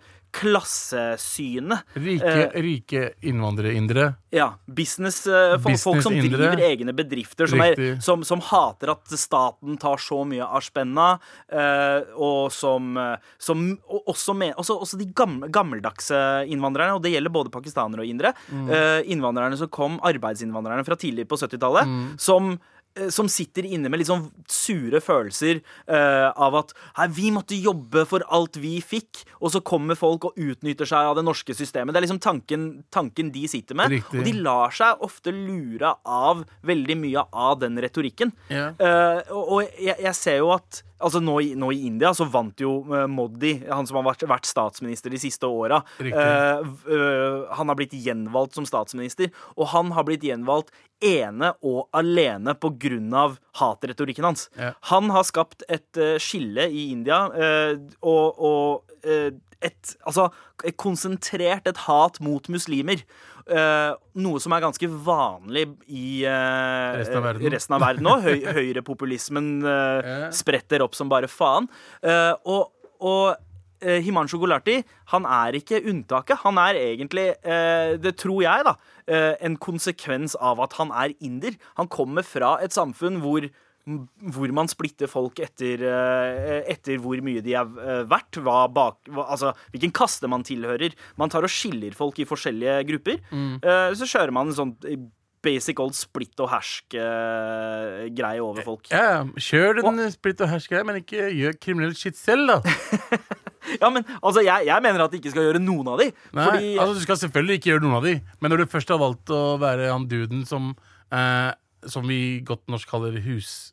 [SPEAKER 3] klassesynet.
[SPEAKER 5] Rike,
[SPEAKER 3] Eh,
[SPEAKER 5] rike innvandrerindere.
[SPEAKER 3] ja, business, eh, folk, folk som
[SPEAKER 5] Business-indre.
[SPEAKER 3] driver egne bedrifter, som, er,
[SPEAKER 5] Riktig.
[SPEAKER 3] som, som hater at staten tar så mye av spenna, eh, og som, eh, som og også, med, også, også de gamle, gammeldagse innvandrerne, og det gjelder både pakistanere og indere, eh, innvandrerne som kom, arbeidsinnvandrerne fra tidlig på 70-tallet, som eh, som sitter inne med litt sånn sure følelser eh, av at Hei, vi måtte jobbe for alt vi fikk, og så kommer folk og utnytter seg av det norske systemet. Det er liksom tanken, tanken de sitter med.
[SPEAKER 5] Riktig.
[SPEAKER 3] Og de lar seg ofte lure av veldig mye av den retorikken.
[SPEAKER 5] Ja.
[SPEAKER 3] Eh, og og jeg, jeg ser jo at Altså nå i, nå i India så vant jo eh, Modi, han som har vært, vært statsminister de siste åra.
[SPEAKER 5] Riktig.
[SPEAKER 3] Eh, v- eh, han har blitt gjenvalgt som statsminister, og han har blitt gjenvalgt ene og alene på grunn av hatretorikken hans.
[SPEAKER 5] Ja.
[SPEAKER 3] Han har skapt et eh, skille i India, eh, og, og eh, et, altså, et konsentrert et hat mot muslimer. Eh, noe som er ganske vanlig i eh,
[SPEAKER 5] Resten av verden.
[SPEAKER 3] resten av verden òg. Høy, høyrepopulismen eh,
[SPEAKER 5] Ja.
[SPEAKER 3] spretter opp som bare faen. Eh, og og eh, Himanshu Gulati han er ikke unntaket. Han er egentlig, eh, det tror jeg, da, eh, en konsekvens av at han er inder. Han kommer fra et samfunn hvor hvor man splitter folk etter, eh, etter hvor mye de er eh, verdt. Hva bak, hva, altså, hvilken kaste man tilhører. Man tar og skiller folk i forskjellige grupper.
[SPEAKER 5] Mm.
[SPEAKER 3] Eh, Så kjører man en sånn basic old splitt og hersk-greie over folk.
[SPEAKER 5] Ja, ja, kjør den splitt og hersk-greia, men ikke gjør kriminell shit selv, da.
[SPEAKER 3] Ja, men altså, jeg, jeg mener at de ikke skal gjøre noen av de.
[SPEAKER 5] Nei,
[SPEAKER 3] fordi
[SPEAKER 5] altså Du skal selvfølgelig ikke gjøre noen av de, men når du først har valgt å være han duden som eh, Som vi godt norsk kaller hus...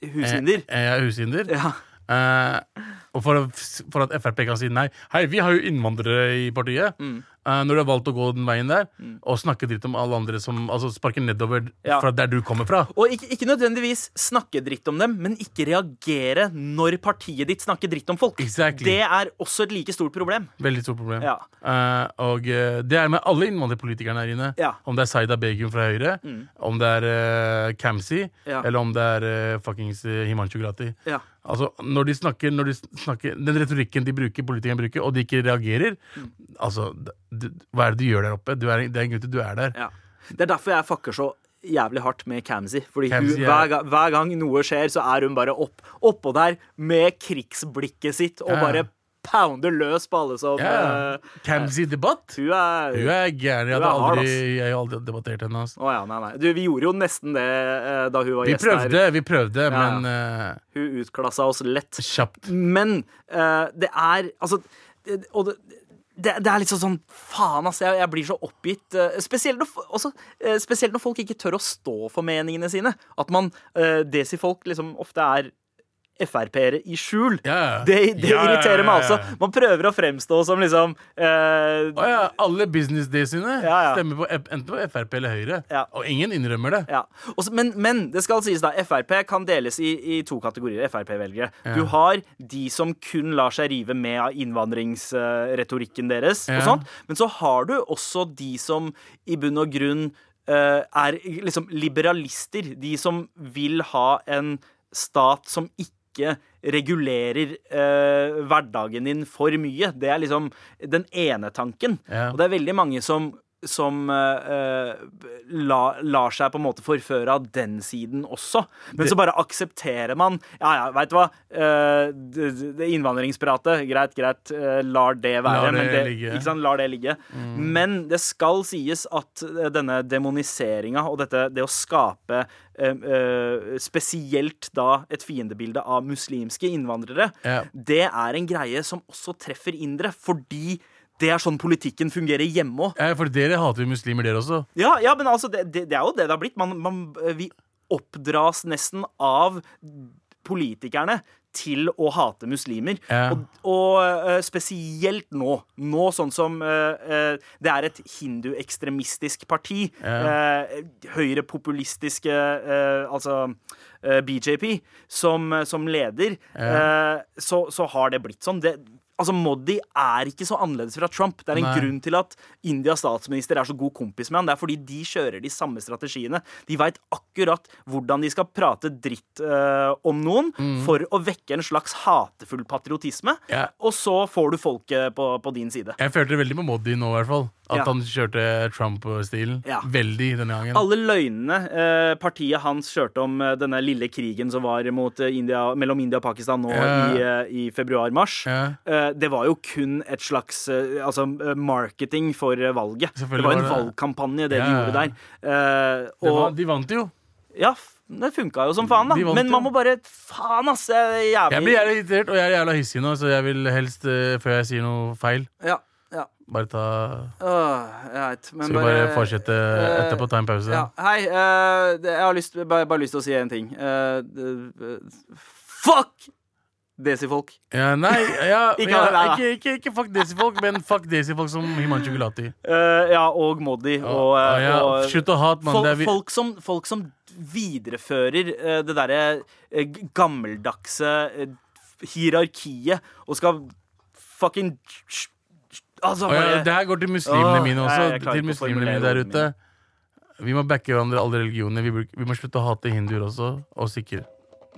[SPEAKER 3] hushinder
[SPEAKER 5] Eh, eh, ja, hushinder.
[SPEAKER 3] ja.
[SPEAKER 5] Eh, og for, å- for at Frp kan si nei Hei, vi har jo innvandrere i partiet.
[SPEAKER 3] Mm.
[SPEAKER 5] Eh, når du har valgt å gå den veien der, og snakke dritt om alle andre som altså, sparker nedover
[SPEAKER 3] Ja.
[SPEAKER 5] fra der du kommer fra.
[SPEAKER 3] Og ikke, ikke nødvendigvis snakke dritt om dem, men ikke reagere når partiet ditt snakker dritt om folk.
[SPEAKER 5] Exactly.
[SPEAKER 3] Det er også et like stort problem.
[SPEAKER 5] Veldig stort problem.
[SPEAKER 3] Ja.
[SPEAKER 5] Eh, og eh, det er med alle innvandrerpolitikerne her inne.
[SPEAKER 3] Ja. Mm.
[SPEAKER 5] Om det er Saida Begum fra Høyre, om det er uh, Kamzy,
[SPEAKER 3] Ja.
[SPEAKER 5] eller om det er uh, fuckings eh, Himanshu Grati.
[SPEAKER 3] Ja.
[SPEAKER 5] Altså, når de snakker, når de snakker Den retorikken de bruker, politikerne bruker, og de ikke reagerer
[SPEAKER 3] Mm.
[SPEAKER 5] Altså, d- d- Hva er det du gjør der oppe? Du er, det er en grunn til at du er der.
[SPEAKER 3] Ja. Det er derfor jeg fucker så jævlig hardt med Camzy. Fordi hun,
[SPEAKER 5] Kamzy er-
[SPEAKER 3] hver, ga- hver gang noe skjer, så er hun bare opp, oppå der med krigsblikket sitt og
[SPEAKER 5] Ja.
[SPEAKER 3] bare pounder løs på alle som
[SPEAKER 5] Ja.
[SPEAKER 3] eh,
[SPEAKER 5] Kamzy-debatt?
[SPEAKER 3] Hun er
[SPEAKER 5] Hun er gæren. Jeg
[SPEAKER 3] Hun er
[SPEAKER 5] hadde
[SPEAKER 3] hard,
[SPEAKER 5] aldri,
[SPEAKER 3] ass.
[SPEAKER 5] jeg har aldri debattert henne. Altså.
[SPEAKER 3] Å ja, nei, nei. Du, vi gjorde jo nesten det eh, da hun var
[SPEAKER 5] Vi
[SPEAKER 3] gjest
[SPEAKER 5] prøvde,
[SPEAKER 3] her.
[SPEAKER 5] vi prøvde,
[SPEAKER 3] Ja.
[SPEAKER 5] men eh,
[SPEAKER 3] Hun utklassa oss lett.
[SPEAKER 5] kjapt.
[SPEAKER 3] Men eh, det er Altså det, Og det det, det er liksom sånn Faen, altså. Jeg, jeg blir så oppgitt. eh, Spesielt når, f- også, eh, spesielt når folk ikke tør å stå for meningene sine. At man eh, Desi-folk liksom ofte er Frp-ere i skjul.
[SPEAKER 5] Ja.
[SPEAKER 3] Det, det
[SPEAKER 5] Ja, ja, ja,
[SPEAKER 3] irriterer meg
[SPEAKER 5] ja,
[SPEAKER 3] også.
[SPEAKER 5] ja.
[SPEAKER 3] Man prøver å fremstå som liksom eh,
[SPEAKER 5] Å ja, alle business daysene
[SPEAKER 3] Ja, ja.
[SPEAKER 5] stemmer på F- enten på Frp eller Høyre.
[SPEAKER 3] Ja.
[SPEAKER 5] Og ingen innrømmer det.
[SPEAKER 3] Ja. Også, men, men det skal sies, da. Frp kan deles i, i to kategorier. Frp-velgere. Du har de som kun lar seg rive med av innvandringsretorikken deres.
[SPEAKER 5] Ja.
[SPEAKER 3] Og sånt. Men så har du også de som i bunn og grunn eh, er liksom liberalister. De som vil ha en stat som ikke regulerer eh, hverdagen din for mye. Det er liksom den ene tanken.
[SPEAKER 5] Ja.
[SPEAKER 3] Og det er veldig mange som som eh, eh, la, lar seg på en måte forføre av den siden også. Men så bare aksepterer man Ja, ja, veit du hva. eh, det, det innvandringspratet, greit, greit. eh, lar det være.
[SPEAKER 5] Lar det
[SPEAKER 3] men det,
[SPEAKER 5] ligge.
[SPEAKER 3] Ikke sant? Lar det ligge. Men det skal sies at eh, denne demoniseringa og dette, det å skape eh, eh, spesielt da et fiendebilde av muslimske innvandrere,
[SPEAKER 5] Ja.
[SPEAKER 3] det er en greie som også treffer indre, fordi det er sånn politikken fungerer hjemme òg.
[SPEAKER 5] Ja, for dere hater jo muslimer, dere også.
[SPEAKER 3] Ja, ja, men altså, det, det, det er jo det det har blitt. Man, man, vi oppdras nesten av politikerne til å hate muslimer.
[SPEAKER 5] Ja.
[SPEAKER 3] Og, og eh, spesielt nå. Nå sånn som eh, eh, det er et hinduekstremistisk parti.
[SPEAKER 5] Ja.
[SPEAKER 3] eh, Høyrepopulistiske eh, Altså eh, BJP som, som leder. eh, så, så har det blitt sånn. Det, altså, Modi er ikke så annerledes fra Trump. Det er en
[SPEAKER 5] Nei.
[SPEAKER 3] grunn til at Indias statsminister er så god kompis med han. Det er fordi de kjører de samme strategiene. De veit akkurat hvordan de skal prate dritt eh, om noen for å vekke en slags hatefull patriotisme.
[SPEAKER 5] Ja.
[SPEAKER 3] Og så får du folket på, på din side.
[SPEAKER 5] Jeg følte veldig på Modi nå, i hvert fall. At
[SPEAKER 3] Ja.
[SPEAKER 5] han kjørte Trump-stilen.
[SPEAKER 3] Ja.
[SPEAKER 5] Veldig denne gangen.
[SPEAKER 3] Alle løgnene eh, partiet hans kjørte om eh, denne lille krigen som var mot, eh, India, mellom India og Pakistan nå
[SPEAKER 5] Ja.
[SPEAKER 3] i, eh, i februar-mars,
[SPEAKER 5] Ja.
[SPEAKER 3] eh, det var jo kun et slags eh, altså, eh, marketing for eh, valget. Det
[SPEAKER 5] Selvfølgelig
[SPEAKER 3] var en
[SPEAKER 5] var det-
[SPEAKER 3] valgkampanje, det
[SPEAKER 5] Ja,
[SPEAKER 3] de
[SPEAKER 5] ja.
[SPEAKER 3] gjorde der. Eh,
[SPEAKER 5] Det
[SPEAKER 3] og
[SPEAKER 5] var, de vant jo.
[SPEAKER 3] ja, f- det funka jo som faen, da.
[SPEAKER 5] De vant
[SPEAKER 3] Men
[SPEAKER 5] jo.
[SPEAKER 3] man må bare Faen, ass! Jeg er
[SPEAKER 5] Jeg
[SPEAKER 3] jævlig
[SPEAKER 5] blir jævla irritert, og jeg er jævla hissig nå, så jeg vil helst, eh, før jeg sier noe feil,
[SPEAKER 3] Ja. ja.
[SPEAKER 5] bare ta
[SPEAKER 3] Øh, jeg vet, men eh,
[SPEAKER 5] Skal vi bare fortsette etterpå, ta en pause?
[SPEAKER 3] Ja. Hei, eh, det- jeg har lyst, bare, bare lyst til å si en ting. Eh, det- eh, fuck Desi-folk.
[SPEAKER 5] Ja, nei, ja,
[SPEAKER 3] Ikke
[SPEAKER 5] ja,
[SPEAKER 3] alle der, da.
[SPEAKER 5] ikke, ikke, ikke fuck desi-folk, men fuck desi-folk som Himanshu Gulati.
[SPEAKER 3] Eh, ja, og Moddi. Og, eh,
[SPEAKER 5] Ja,
[SPEAKER 3] og
[SPEAKER 5] Slutt å hate, mann.
[SPEAKER 3] Fol-
[SPEAKER 5] Det er vi-
[SPEAKER 3] folk, som, folk som viderefører eh, det derre eh, g- gammeldagse eh, hierarkiet og skal fucking Altså,
[SPEAKER 5] Og ja,
[SPEAKER 3] bare
[SPEAKER 5] det her går til muslimene
[SPEAKER 3] Åh,
[SPEAKER 5] mine
[SPEAKER 3] nei,
[SPEAKER 5] også.
[SPEAKER 3] jeg klarer
[SPEAKER 5] til
[SPEAKER 3] ikke å
[SPEAKER 5] muslimene
[SPEAKER 3] formulere
[SPEAKER 5] mine der
[SPEAKER 3] ordene
[SPEAKER 5] ute Vi må backe hverandre alle religioner. Vi, bur- vi må slutte å hate hinduer også, og sikher.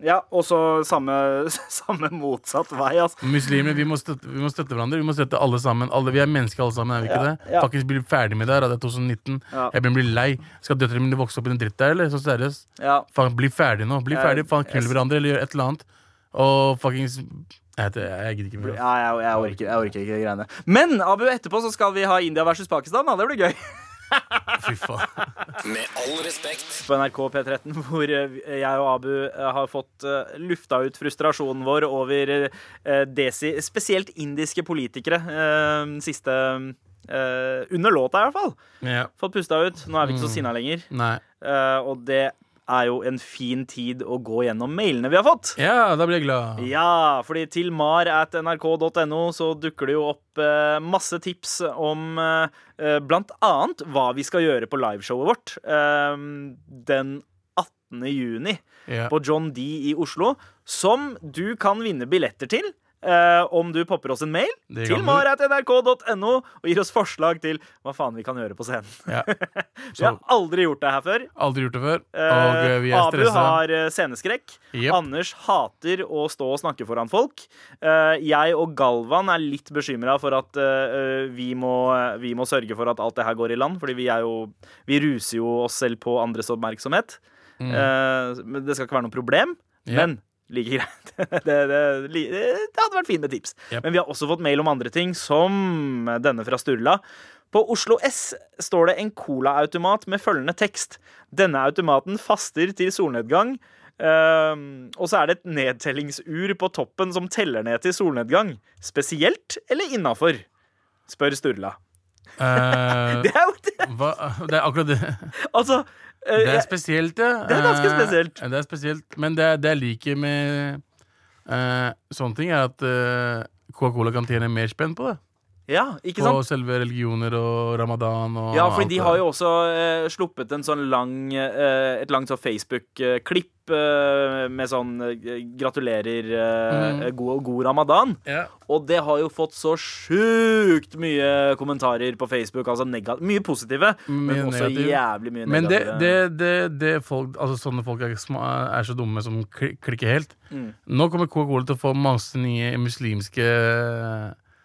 [SPEAKER 3] Ja, og så samme, samme motsatt vei, altså.
[SPEAKER 5] Muslimer, vi må, støtte, vi må støtte hverandre. Vi må støtte alle sammen. Alle, vi er mennesker alle sammen, er vi ikke det?
[SPEAKER 3] ja.
[SPEAKER 5] Faktisk bli ferdig med det her. da. Det er 2019.
[SPEAKER 3] Ja.
[SPEAKER 5] Jeg begynner å bli lei. Skal døtrene mine vokse opp i den dritt der, eller? Så seriøst.
[SPEAKER 3] Ja.
[SPEAKER 5] Faen, bli ferdig nå. Bli
[SPEAKER 3] Ja,
[SPEAKER 5] ferdig. Faen,
[SPEAKER 3] jeg-
[SPEAKER 5] knull hverandre, eller gjør et eller annet. Og fuckings Jeg vet ikke, jeg gidder ikke mer. ass.
[SPEAKER 3] Ja, jeg, jeg, orker, jeg orker ikke de greiene. Men Abu, etterpå så skal vi ha India versus Pakistan. Da. Det blir gøy.
[SPEAKER 5] Fy faen.
[SPEAKER 1] Med all respekt.
[SPEAKER 3] På NRK P13, hvor eh, jeg og Abu eh, har fått eh, lufta ut frustrasjonen vår over eh, desi, spesielt indiske politikere, eh, siste eh, Under låta, i hvert fall.
[SPEAKER 5] Ja.
[SPEAKER 3] Fått pusta ut. Nå er vi ikke så sinna lenger.
[SPEAKER 5] Nei.
[SPEAKER 3] Eh, og det er jo en fin tid å gå gjennom mailene vi har fått.
[SPEAKER 5] Ja, da blir jeg glad.
[SPEAKER 3] Ja, fordi til mar at nrk.no så dukker det jo opp eh, masse tips om eh, eh, blant annet hva vi skal gjøre på liveshowet vårt eh, den 18. juni
[SPEAKER 5] Ja.
[SPEAKER 3] på John D i Oslo, som du kan vinne billetter til. eh, om du popper oss en mail
[SPEAKER 5] Det
[SPEAKER 3] til
[SPEAKER 5] kan du.
[SPEAKER 3] mar at nrk.no og gir oss forslag til hva faen vi kan gjøre på scenen.
[SPEAKER 5] Ja.
[SPEAKER 3] Vi har
[SPEAKER 5] Så-
[SPEAKER 3] aldri gjort det her før.
[SPEAKER 5] Aldri gjort det før. Og
[SPEAKER 3] Eh,
[SPEAKER 5] eh, vi er
[SPEAKER 3] Abu
[SPEAKER 5] stressa.
[SPEAKER 3] har eh, sceneskrekk.
[SPEAKER 5] Jep.
[SPEAKER 3] Anders hater å stå og snakke foran folk. Eh, jeg og Galvan er litt bekymra for at eh, eh, vi, må, vi må sørge for at alt det her går i land, fordi vi er jo Vi ruser jo oss selv på andres oppmerksomhet.
[SPEAKER 5] Mm.
[SPEAKER 3] Eh, men det skal ikke være noe problem.
[SPEAKER 5] Ja.
[SPEAKER 3] Men like greit. det, det, li- det hadde vært fint med tips.
[SPEAKER 5] Jep.
[SPEAKER 3] Men vi har også fått mail om andre ting, som denne fra Sturla. På Oslo S står det en colaautomat med følgende tekst. Denne automaten faster til solnedgang. ehm, og så er det et nedtellingsur på toppen som teller ned til solnedgang. Spesielt eller innafor? Spør Sturla.
[SPEAKER 5] Eh,
[SPEAKER 3] Det er jo det!
[SPEAKER 5] hva, det er akkurat det.
[SPEAKER 3] Altså eh,
[SPEAKER 5] Det er
[SPEAKER 3] jeg-
[SPEAKER 5] spesielt, ja.
[SPEAKER 3] Det er ganske
[SPEAKER 5] Eh,
[SPEAKER 3] spesielt.
[SPEAKER 5] Det er spesielt, Men det, det jeg liker med eh, sånne ting, er at eh, Coca-Cola kan tjene mer spenn på det.
[SPEAKER 3] Ja, ikke
[SPEAKER 5] På
[SPEAKER 3] sant?
[SPEAKER 5] selve religioner og ramadan og
[SPEAKER 3] Ja, for
[SPEAKER 5] alt
[SPEAKER 3] de
[SPEAKER 5] det
[SPEAKER 3] har
[SPEAKER 5] der.
[SPEAKER 3] jo også eh, sluppet en sånn lang, eh, et langt sånn Facebook-klipp eh, med sånn eh, 'Gratulerer, eh, god, god ramadan'.
[SPEAKER 5] Mm. ja.
[SPEAKER 3] Og det har jo fått så sjukt mye kommentarer på Facebook. Altså nega mye positive,
[SPEAKER 5] Mye
[SPEAKER 3] men også
[SPEAKER 5] negative.
[SPEAKER 3] jævlig mye
[SPEAKER 5] Men det,
[SPEAKER 3] negative.
[SPEAKER 5] det, det, det folk, altså sånne folk er, sma- er så dumme som kli- klikker helt.
[SPEAKER 3] Mm.
[SPEAKER 5] Nå kommer Coca-Cola til å få masse nye muslimske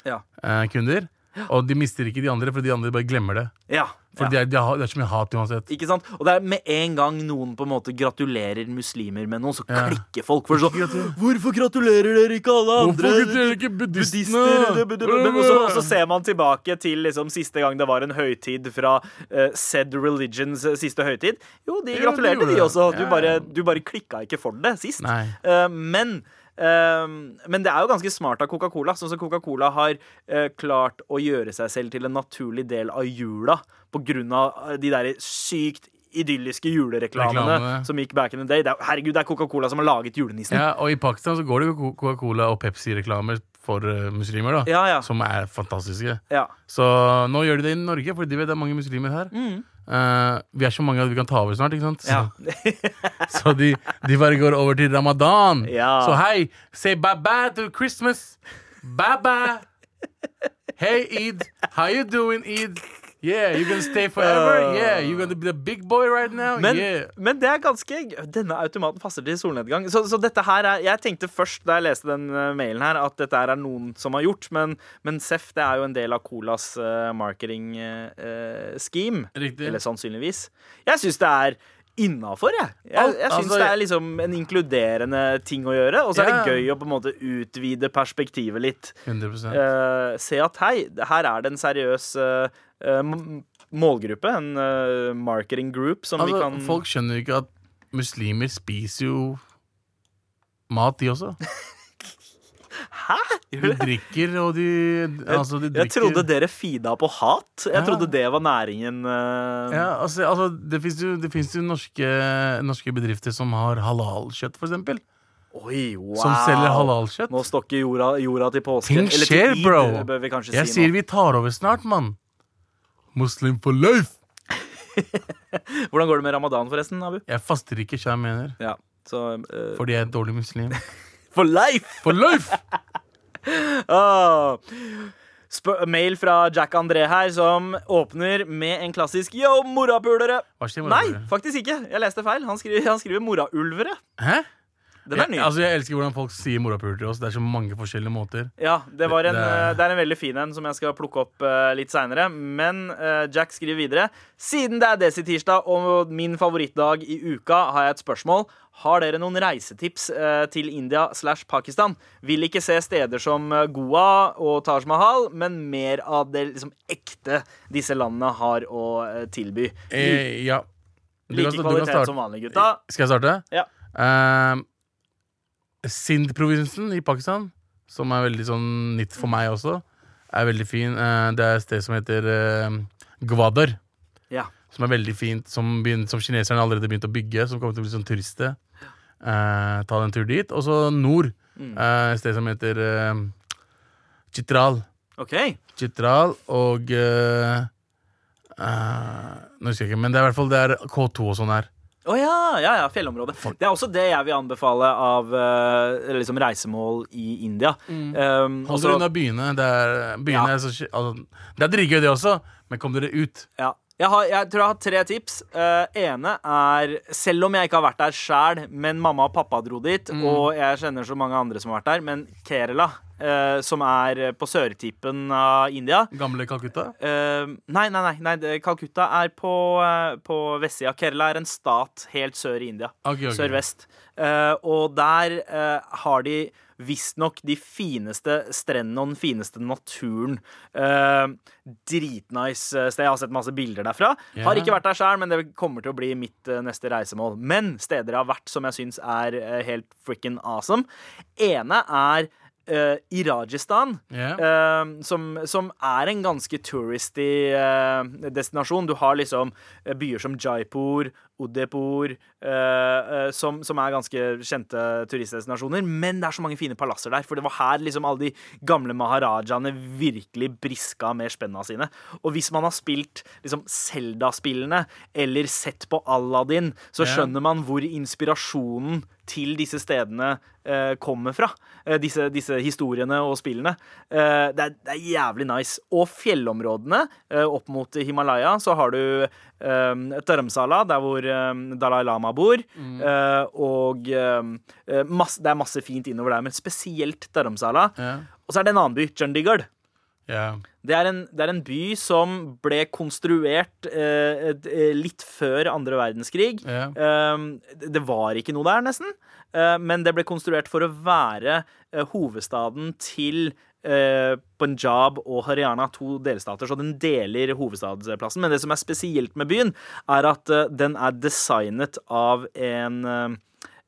[SPEAKER 3] Ja.
[SPEAKER 5] eh, kunder. Og de mister ikke de andre, for de andre bare glemmer det.
[SPEAKER 3] ja,
[SPEAKER 5] For
[SPEAKER 3] ja.
[SPEAKER 5] de er, de har, det er så mye hat uansett.
[SPEAKER 3] Ikke sant? Og det er med en gang noen på en måte gratulerer muslimer med noe, så
[SPEAKER 5] Ja.
[SPEAKER 3] klikker folk. For sånn 'Hvorfor gratulerer dere ikke alle andre?'
[SPEAKER 5] Hvorfor gratulerer ikke buddhistene?
[SPEAKER 3] buddhister det- det- det- Men også, også ser man tilbake til liksom, siste gang det var en høytid fra eh, said religions eh, siste høytid. Jo, de
[SPEAKER 5] Jo, de
[SPEAKER 3] gratulerte, de
[SPEAKER 5] gjorde det.
[SPEAKER 3] også. Du
[SPEAKER 5] Ja,
[SPEAKER 3] bare,
[SPEAKER 5] ja.
[SPEAKER 3] du bare klikka ikke for det sist.
[SPEAKER 5] Nei.
[SPEAKER 3] Eh, men eh, men det er jo ganske smart av Coca-Cola. Sånn som Coca-Cola har eh, klart å gjøre seg selv til en naturlig del av jula på grunn av eh, de der sykt idylliske julereklamene
[SPEAKER 5] Reklamene.
[SPEAKER 3] som gikk back in the day. Det er, herregud, det er Coca-Cola som har laget julenissen.
[SPEAKER 5] Ja, og i Pakistan så går det jo Co- Coca-Cola og Pepsi-reklamer for eh, muslimer, da.
[SPEAKER 3] Ja, ja.
[SPEAKER 5] Som er fantastiske.
[SPEAKER 3] Ja.
[SPEAKER 5] Så nå gjør de det i Norge, fordi de vet det er mange muslimer her. Eh, vi er så mange at vi kan ta over snart, ikke sant?
[SPEAKER 3] Mm. Ja.
[SPEAKER 5] Så, så de, de bare går over til ramadan.
[SPEAKER 3] Ja.
[SPEAKER 5] Så hei, say bye-bye to Christmas. Bye-bye. Hey, Eid. How you doing, Eid? Yeah, you gonna stay forever? Yeah, you gonna be the big boy right now?
[SPEAKER 3] Uh. Men,
[SPEAKER 5] yeah.
[SPEAKER 3] men det er ganske Denne automaten passer til solnedgang. Så, så dette her er Jeg tenkte først da jeg leste den eh, mailen her, at dette her er noen som har gjort, men, men Seff det er jo en del av Colas eh, marketing eh, eh, scheme.
[SPEAKER 5] Riktig.
[SPEAKER 3] Eller sannsynligvis. Jeg syns det er innafor, jeg. Jeg,
[SPEAKER 5] Alt-
[SPEAKER 3] jeg syns
[SPEAKER 5] altså-
[SPEAKER 3] det er liksom en inkluderende ting å gjøre. Og så er
[SPEAKER 5] Ja.
[SPEAKER 3] det gøy å på en måte utvide perspektivet litt.
[SPEAKER 5] 100
[SPEAKER 3] Eh, se at hei, her er det en seriøs eh, eh, m- målgruppe, en eh, marketing group, som
[SPEAKER 5] Altså,
[SPEAKER 3] vi kan
[SPEAKER 5] Folk skjønner jo ikke at muslimer spiser jo mat, de også. De drikker, og de Altså, de
[SPEAKER 3] Jeg
[SPEAKER 5] drikker
[SPEAKER 3] trodde dere feeda på hat. Jeg
[SPEAKER 5] Ja.
[SPEAKER 3] trodde det var næringen. eh,
[SPEAKER 5] ja, altså, altså, Det fins jo, det finnes jo norske, norske bedrifter som har halalkjøtt, for eksempel.
[SPEAKER 3] Oi, wow.
[SPEAKER 5] Som selger halalkjøtt.
[SPEAKER 3] Nå stokker jorda, jorda til påske.
[SPEAKER 5] Ting
[SPEAKER 3] Eller til
[SPEAKER 5] skjer,
[SPEAKER 3] Eid, eh,
[SPEAKER 5] bro.
[SPEAKER 3] bør vi kanskje
[SPEAKER 5] Jeg
[SPEAKER 3] si
[SPEAKER 5] sier
[SPEAKER 3] nå.
[SPEAKER 5] vi tar over snart, mann. Muslim for life!
[SPEAKER 3] Hvordan går det med ramadan, forresten, Abu?
[SPEAKER 5] Jeg faster ikke, kjære mener,
[SPEAKER 3] Ja, så eh,
[SPEAKER 5] fordi jeg er en dårlig muslim.
[SPEAKER 3] For life!
[SPEAKER 5] For life!
[SPEAKER 3] Ah. Spør- mail fra Jack André her, som åpner med en klassisk yo, morapulere!
[SPEAKER 5] Hva skjer med
[SPEAKER 3] Nei,
[SPEAKER 5] dere?
[SPEAKER 3] faktisk ikke. Jeg leste feil. Han skriver, han skriver moraulvere.
[SPEAKER 5] Hæ?
[SPEAKER 3] Den er ny.
[SPEAKER 5] altså, jeg elsker hvordan folk sier morapuler til oss. Det er så mange forskjellige måter.
[SPEAKER 3] Ja, det, var en,
[SPEAKER 5] Det-
[SPEAKER 3] eh, det er en veldig fin en som jeg skal plukke opp eh, litt seinere. Men eh, Jack skriver videre. Siden det er Desi-tirsdag og min favorittdag i uka, har jeg et spørsmål. Har dere noen reisetips eh, til India slash Pakistan? Vil ikke se steder som eh, Goa og Taj Mahal, men mer av det liksom, ekte disse landene har å eh, tilby.
[SPEAKER 5] Eh, ja. Du kan
[SPEAKER 3] Like
[SPEAKER 5] sta- du kan
[SPEAKER 3] kvalitet
[SPEAKER 5] starte.
[SPEAKER 3] som vanlig, gutta.
[SPEAKER 5] Skal jeg starte?
[SPEAKER 3] Ja.
[SPEAKER 5] Ehm, Sindh-provinsen i Pakistan, som er veldig sånn nytt for meg også, er veldig fin. Eh, det er et sted som heter eh, Gwadar,
[SPEAKER 3] Ja.
[SPEAKER 5] som er veldig fint, som, begyn- som kineserne allerede begynte å bygge, som kommer til å bli sånn turiststed. Eh, ta en tur dit. Og så nord, eh, et sted som heter eh, Chitral.
[SPEAKER 3] OK.
[SPEAKER 5] Chitral og eh, eh, Nå husker jeg ikke, men det er i hvert fall det er K2 og sånn her.
[SPEAKER 3] Å ja, ja, ja, fjellområdet. Det er også det jeg vil anbefale av eh, liksom reisemål i India. Um,
[SPEAKER 5] Hold
[SPEAKER 3] også-
[SPEAKER 5] dere unna byene. Det er, byene
[SPEAKER 3] Ja.
[SPEAKER 5] er så, sk- altså, det er dritgøy, det også, men kom dere ut.
[SPEAKER 3] Ja. Jeg, har, jeg tror jeg har tre tips. Eh, ene er Selv om jeg ikke har vært der sjæl, men mamma og pappa dro dit, og jeg kjenner så mange andre som har vært der, men Kerala, eh, som er på sørtippen av India
[SPEAKER 5] Gamle Calcutta.
[SPEAKER 3] eh, Nei, nei, nei. nei det- Calcutta er på, uh, på vestsida. Kerala er en stat helt sør i India.
[SPEAKER 5] Ok, ok.
[SPEAKER 3] Sørvest. Eh, og der eh, har de visstnok de fineste strendene og den fineste naturen. Eh, dritnice eh, sted. Jeg har sett masse bilder derfra.
[SPEAKER 5] Ja.
[SPEAKER 3] Har ikke vært der sjøl, men det kommer til å bli mitt eh, neste reisemål. Men steder jeg har vært som jeg syns er eh, helt freaking awesome. Ene er eh, i Rajasthan,
[SPEAKER 5] Ja.
[SPEAKER 3] eh, som, som er en ganske touristy eh, destinasjon. Du har liksom eh, byer som Jaipur, Udaipur, eh, eh, som, som er ganske kjente turistdestinasjoner. Men det er så mange fine palasser der, for det var her liksom alle de gamle maharajaene virkelig briska med spenna sine. Og hvis man har spilt liksom Zelda-spillene eller sett på Aladdin, så
[SPEAKER 5] Ja.
[SPEAKER 3] skjønner man hvor inspirasjonen til disse stedene eh, kommer fra. Eh, disse, disse historiene og spillene. Eh, det, er, det er jævlig nice. Og fjellområdene eh, opp mot Himalaya, så har du eh, Dharamsala, der hvor eh, Dalai Lama bor. Eh, og eh, masse, det er masse fint innover der, men spesielt Dharamsala.
[SPEAKER 5] Ja.
[SPEAKER 3] Og så er det en annen by, Chandigarh.
[SPEAKER 5] Ja.
[SPEAKER 3] Det er, en, det er en by som ble konstruert eh, et- eh, litt før andre verdenskrig.
[SPEAKER 5] Ja.
[SPEAKER 3] Um, det det var ikke noe der, nesten. Eh, men det ble konstruert for å være eh, hovedstaden til eh, Punjab og Haryana, to delstater, så den deler hovedstadsplassen. Men det som er spesielt med byen, er at eh, den er designet av en eh,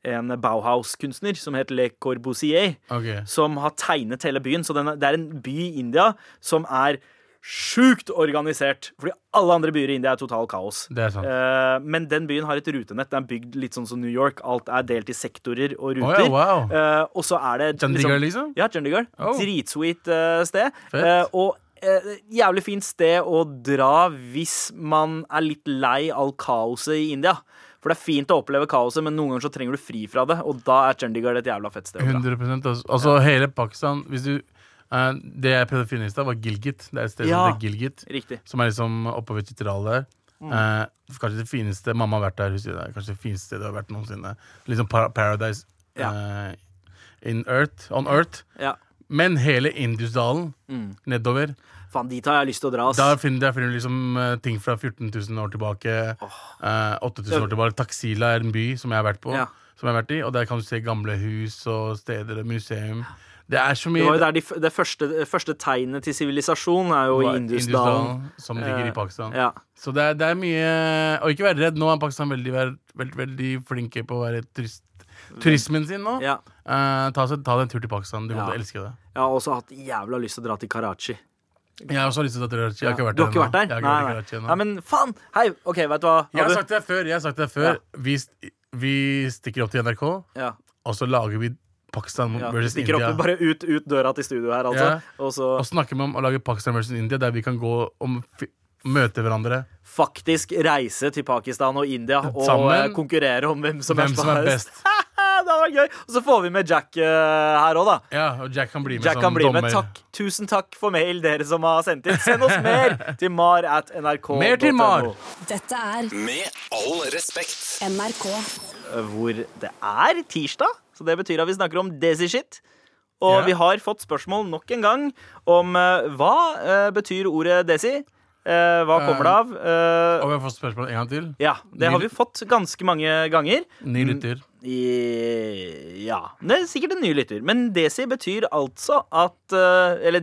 [SPEAKER 3] en Bauhaus-kunstner som het Le Corbusier
[SPEAKER 5] Ok.
[SPEAKER 3] som har tegnet hele byen. Så den er, det er en by i India som er sjukt organisert. Fordi alle andre byer i India er total kaos.
[SPEAKER 5] Det er sant.
[SPEAKER 3] Eh, men den byen har et rutenett. Den er bygd litt sånn som New York. Alt er delt i sektorer og ruter.
[SPEAKER 5] Å ja, wow.
[SPEAKER 3] Eh, og så er det
[SPEAKER 5] Chandigarh, liksom?
[SPEAKER 3] Ja, Chandigarh.
[SPEAKER 5] Oh.
[SPEAKER 3] Dritsweet eh, sted.
[SPEAKER 5] Fett.
[SPEAKER 3] Eh, og eh, jævlig fint sted å dra hvis man er litt lei all kaoset i India. For det er fint å oppleve kaoset, men noen ganger så trenger du fri fra det. Og da er Chandigarh et jævla fett sted å dra.
[SPEAKER 5] 100 altså, altså hele Pakistan Hvis du eh, Det jeg prøvde å finne i stad, var Gilgit. Det er et sted
[SPEAKER 3] Ja.
[SPEAKER 5] som heter Gilgit,
[SPEAKER 3] Riktig.
[SPEAKER 5] som er liksom oppe ved Chitral der. Eh, kanskje det fineste mamma har vært der. Husker jeg det. Kanskje det fineste stedet jeg har vært noensinne. Liksom para Paradise eh, in Earth. On Earth.
[SPEAKER 3] Ja.
[SPEAKER 5] Men hele Indusdalen nedover
[SPEAKER 3] Faen, dit har jeg lyst til å dra, ass.
[SPEAKER 5] Der finner, der finner du liksom eh, ting fra 14 000 år tilbake. eh, 8000 år tilbake Taxila er en by som jeg har vært på.
[SPEAKER 3] Ja.
[SPEAKER 5] Som jeg har vært i Og der kan du se gamle hus og steder og museum. Det er så
[SPEAKER 3] Det
[SPEAKER 5] mye
[SPEAKER 3] var jo der de, f- det første, første tegnet til sivilisasjon er jo i
[SPEAKER 5] var
[SPEAKER 3] Indusdalen.
[SPEAKER 5] som ligger
[SPEAKER 3] Eh,
[SPEAKER 5] i Pakistan.
[SPEAKER 3] Ja.
[SPEAKER 5] Så det er, det er mye Og ikke være redd. Nå er Pakistan veldig, vær- veldig, veldig flinke på å være turist, turismen sin nå.
[SPEAKER 3] Ja.
[SPEAKER 5] Eh, ta, seg- ta deg en tur til Pakistan. Du kommer
[SPEAKER 3] Ja.
[SPEAKER 5] til å elske det.
[SPEAKER 3] Jeg har også hatt jævla lyst til å dra til Karachi.
[SPEAKER 5] Jeg har også lyst til å dra til Karachi. Jeg har ikke vært
[SPEAKER 3] du har ikke vært der?
[SPEAKER 5] ennå. Jeg har ikke
[SPEAKER 3] Nei,
[SPEAKER 5] vært i
[SPEAKER 3] nei.
[SPEAKER 5] Karachi ennå.
[SPEAKER 3] nei, men faen! Hei, OK, vet du hva?
[SPEAKER 5] Jeg har
[SPEAKER 3] Abu?
[SPEAKER 5] sagt det før. Jeg har sagt det før. Vi, st vi stikker opp til NRK, og
[SPEAKER 3] ja,
[SPEAKER 5] så lager vi Pakistan
[SPEAKER 3] ja.
[SPEAKER 5] versus
[SPEAKER 3] Stikker
[SPEAKER 5] India.
[SPEAKER 3] opp bare ut, ut døra til studio her, altså.
[SPEAKER 5] Ja.
[SPEAKER 3] Og så
[SPEAKER 5] Og snakker med om å lage Pakistan versus India, der vi kan gå og fi- møte hverandre.
[SPEAKER 3] faktisk reise til Pakistan og India og
[SPEAKER 5] Sammen.
[SPEAKER 3] eh, konkurrere om hvem som
[SPEAKER 5] Hvem som er
[SPEAKER 3] best.
[SPEAKER 5] best.
[SPEAKER 3] det hadde vært gøy! Og så får vi med Jack eh, her òg, da.
[SPEAKER 5] Ja, og Jack kan bli med
[SPEAKER 3] Jack
[SPEAKER 5] som
[SPEAKER 3] kan bli
[SPEAKER 5] dommer.
[SPEAKER 3] med. Takk. Tusen takk for mail, dere som har sendt inn. Send oss mer til mar at nrk.no.
[SPEAKER 5] Mer til Mar.
[SPEAKER 4] Dette er
[SPEAKER 1] Med all respekt.
[SPEAKER 4] NRK.
[SPEAKER 3] Hvor det Eh, er tirsdag, Så det betyr at vi snakker om desi shit. Og
[SPEAKER 5] Ja.
[SPEAKER 3] vi har fått spørsmål nok en gang om eh, hva eh, betyr ordet desi? Eh, hva kommer det av? Eh,
[SPEAKER 5] Om jeg får spørsmål en gang til?
[SPEAKER 3] ja, det har vi fått ganske mange ganger.
[SPEAKER 5] Ny lytter.
[SPEAKER 3] I, ja. Det er sikkert en ny lytter. Men desi betyr altså at eh, Eller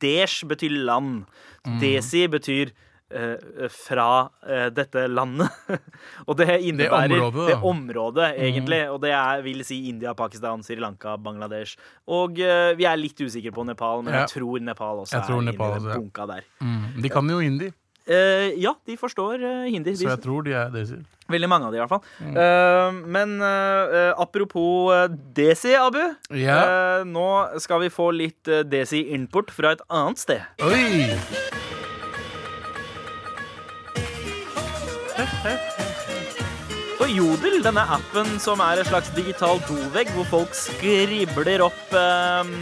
[SPEAKER 3] desh betyr land.
[SPEAKER 5] Mm.
[SPEAKER 3] Desi betyr eh, fra eh, dette landet. og det innebærer
[SPEAKER 5] Det området, da. Mm.
[SPEAKER 3] det området, egentlig. Og det er, vil si India, Pakistan, Sri Lanka, Bangladesh. Og eh, vi er litt usikre på Nepal, men
[SPEAKER 5] Ja.
[SPEAKER 3] jeg tror Nepal også
[SPEAKER 5] Jeg tror
[SPEAKER 3] er
[SPEAKER 5] Nepal
[SPEAKER 3] inni
[SPEAKER 5] også, ja.
[SPEAKER 3] den bunka der.
[SPEAKER 5] Mm. De kan jo hindi,
[SPEAKER 3] Eh, ja, de forstår eh, hindi.
[SPEAKER 5] så
[SPEAKER 3] De-
[SPEAKER 5] jeg tror de er desi.
[SPEAKER 3] Veldig mange av de, i hvert fall. Eh, men eh, eh, apropos eh, Desi, Abu.
[SPEAKER 5] Ja.
[SPEAKER 3] eh, nå skal vi få litt eh, Desi-import fra et annet sted.
[SPEAKER 5] Oi!
[SPEAKER 3] For Jodel, denne appen som er en slags digital dovegg, hvor folk skribler opp eh,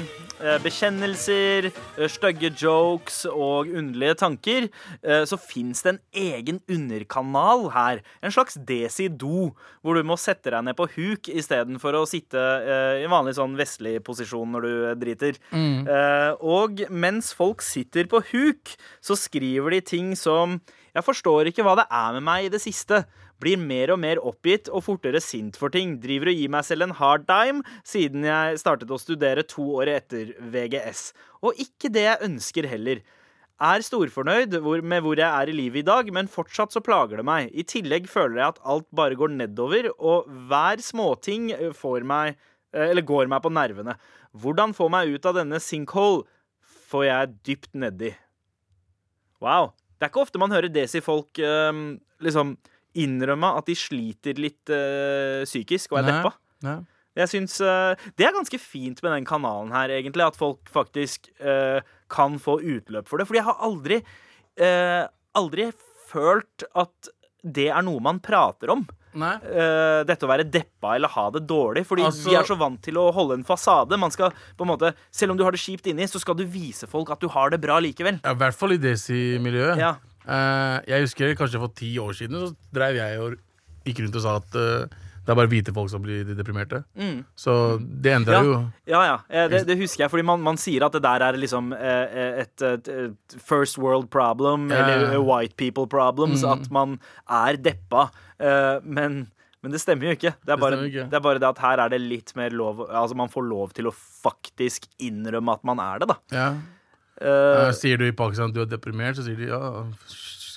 [SPEAKER 3] eh, bekjennelser, eh, stygge jokes og underlige tanker, eh, så fins det en egen underkanal her. En slags desi-do, hvor du må sette deg ned på huk istedenfor å sitte eh, i vanlig sånn vestlig posisjon når du driter. Eh, og mens folk sitter på huk, så skriver de ting som jeg forstår ikke hva det er med meg i det siste. Blir mer og mer oppgitt og fortere sint for ting. Driver og gir meg selv en hard time siden jeg startet å studere to år etter VGS. Og ikke det jeg ønsker heller. Er storfornøyd hvor, med hvor jeg er i livet i dag, men fortsatt så plager det meg. I tillegg føler jeg at alt bare går nedover, og hver småting eh, får meg eh, Eller går meg på nervene. Hvordan få meg ut av denne sinkhole får jeg dypt nedi. Wow. Det er ikke ofte man hører desi-folk ehm, liksom innrømme at de sliter litt eh, psykisk og er
[SPEAKER 5] Nei.
[SPEAKER 3] deppa.
[SPEAKER 5] Nei.
[SPEAKER 3] Jeg synes, eh, Det er ganske fint med den kanalen her, egentlig. At folk faktisk eh, kan få utløp for det. Fordi jeg har aldri, eh, aldri følt at det er noe man prater om.
[SPEAKER 5] Nei.
[SPEAKER 3] Eh, dette å være deppa eller ha det dårlig. Fordi
[SPEAKER 5] Altså-
[SPEAKER 3] vi er så vant til å holde en fasade. Man skal på en måte, Selv om du har det kjipt inni, så skal du vise folk at du har det bra likevel.
[SPEAKER 5] Ja, I hvert fall i desi-miljøet.
[SPEAKER 3] Ja.
[SPEAKER 5] Eh, jeg husker kanskje for ti år siden så drev jeg og gikk rundt og sa at eh, det er bare hvite folk som blir deprimerte. Så det endra
[SPEAKER 3] Mm. Ja,
[SPEAKER 5] jo.
[SPEAKER 3] ja, ja. Eh, Det, det husker jeg, fordi man, man sier at det der er liksom eh, et, et, et first world problem,
[SPEAKER 5] Ja. Mm.
[SPEAKER 3] eller white people problems, at man er deppa. Eh, Men, men det stemmer jo ikke. Det er, bare,
[SPEAKER 5] stemmer ikke.
[SPEAKER 3] det er bare det at her er det litt mer lov Altså, man får lov til å faktisk innrømme at man er det, da.
[SPEAKER 5] Ja.
[SPEAKER 3] Eh,
[SPEAKER 5] Eh, sier du i Pakistan at du er deprimert, så sier de ja,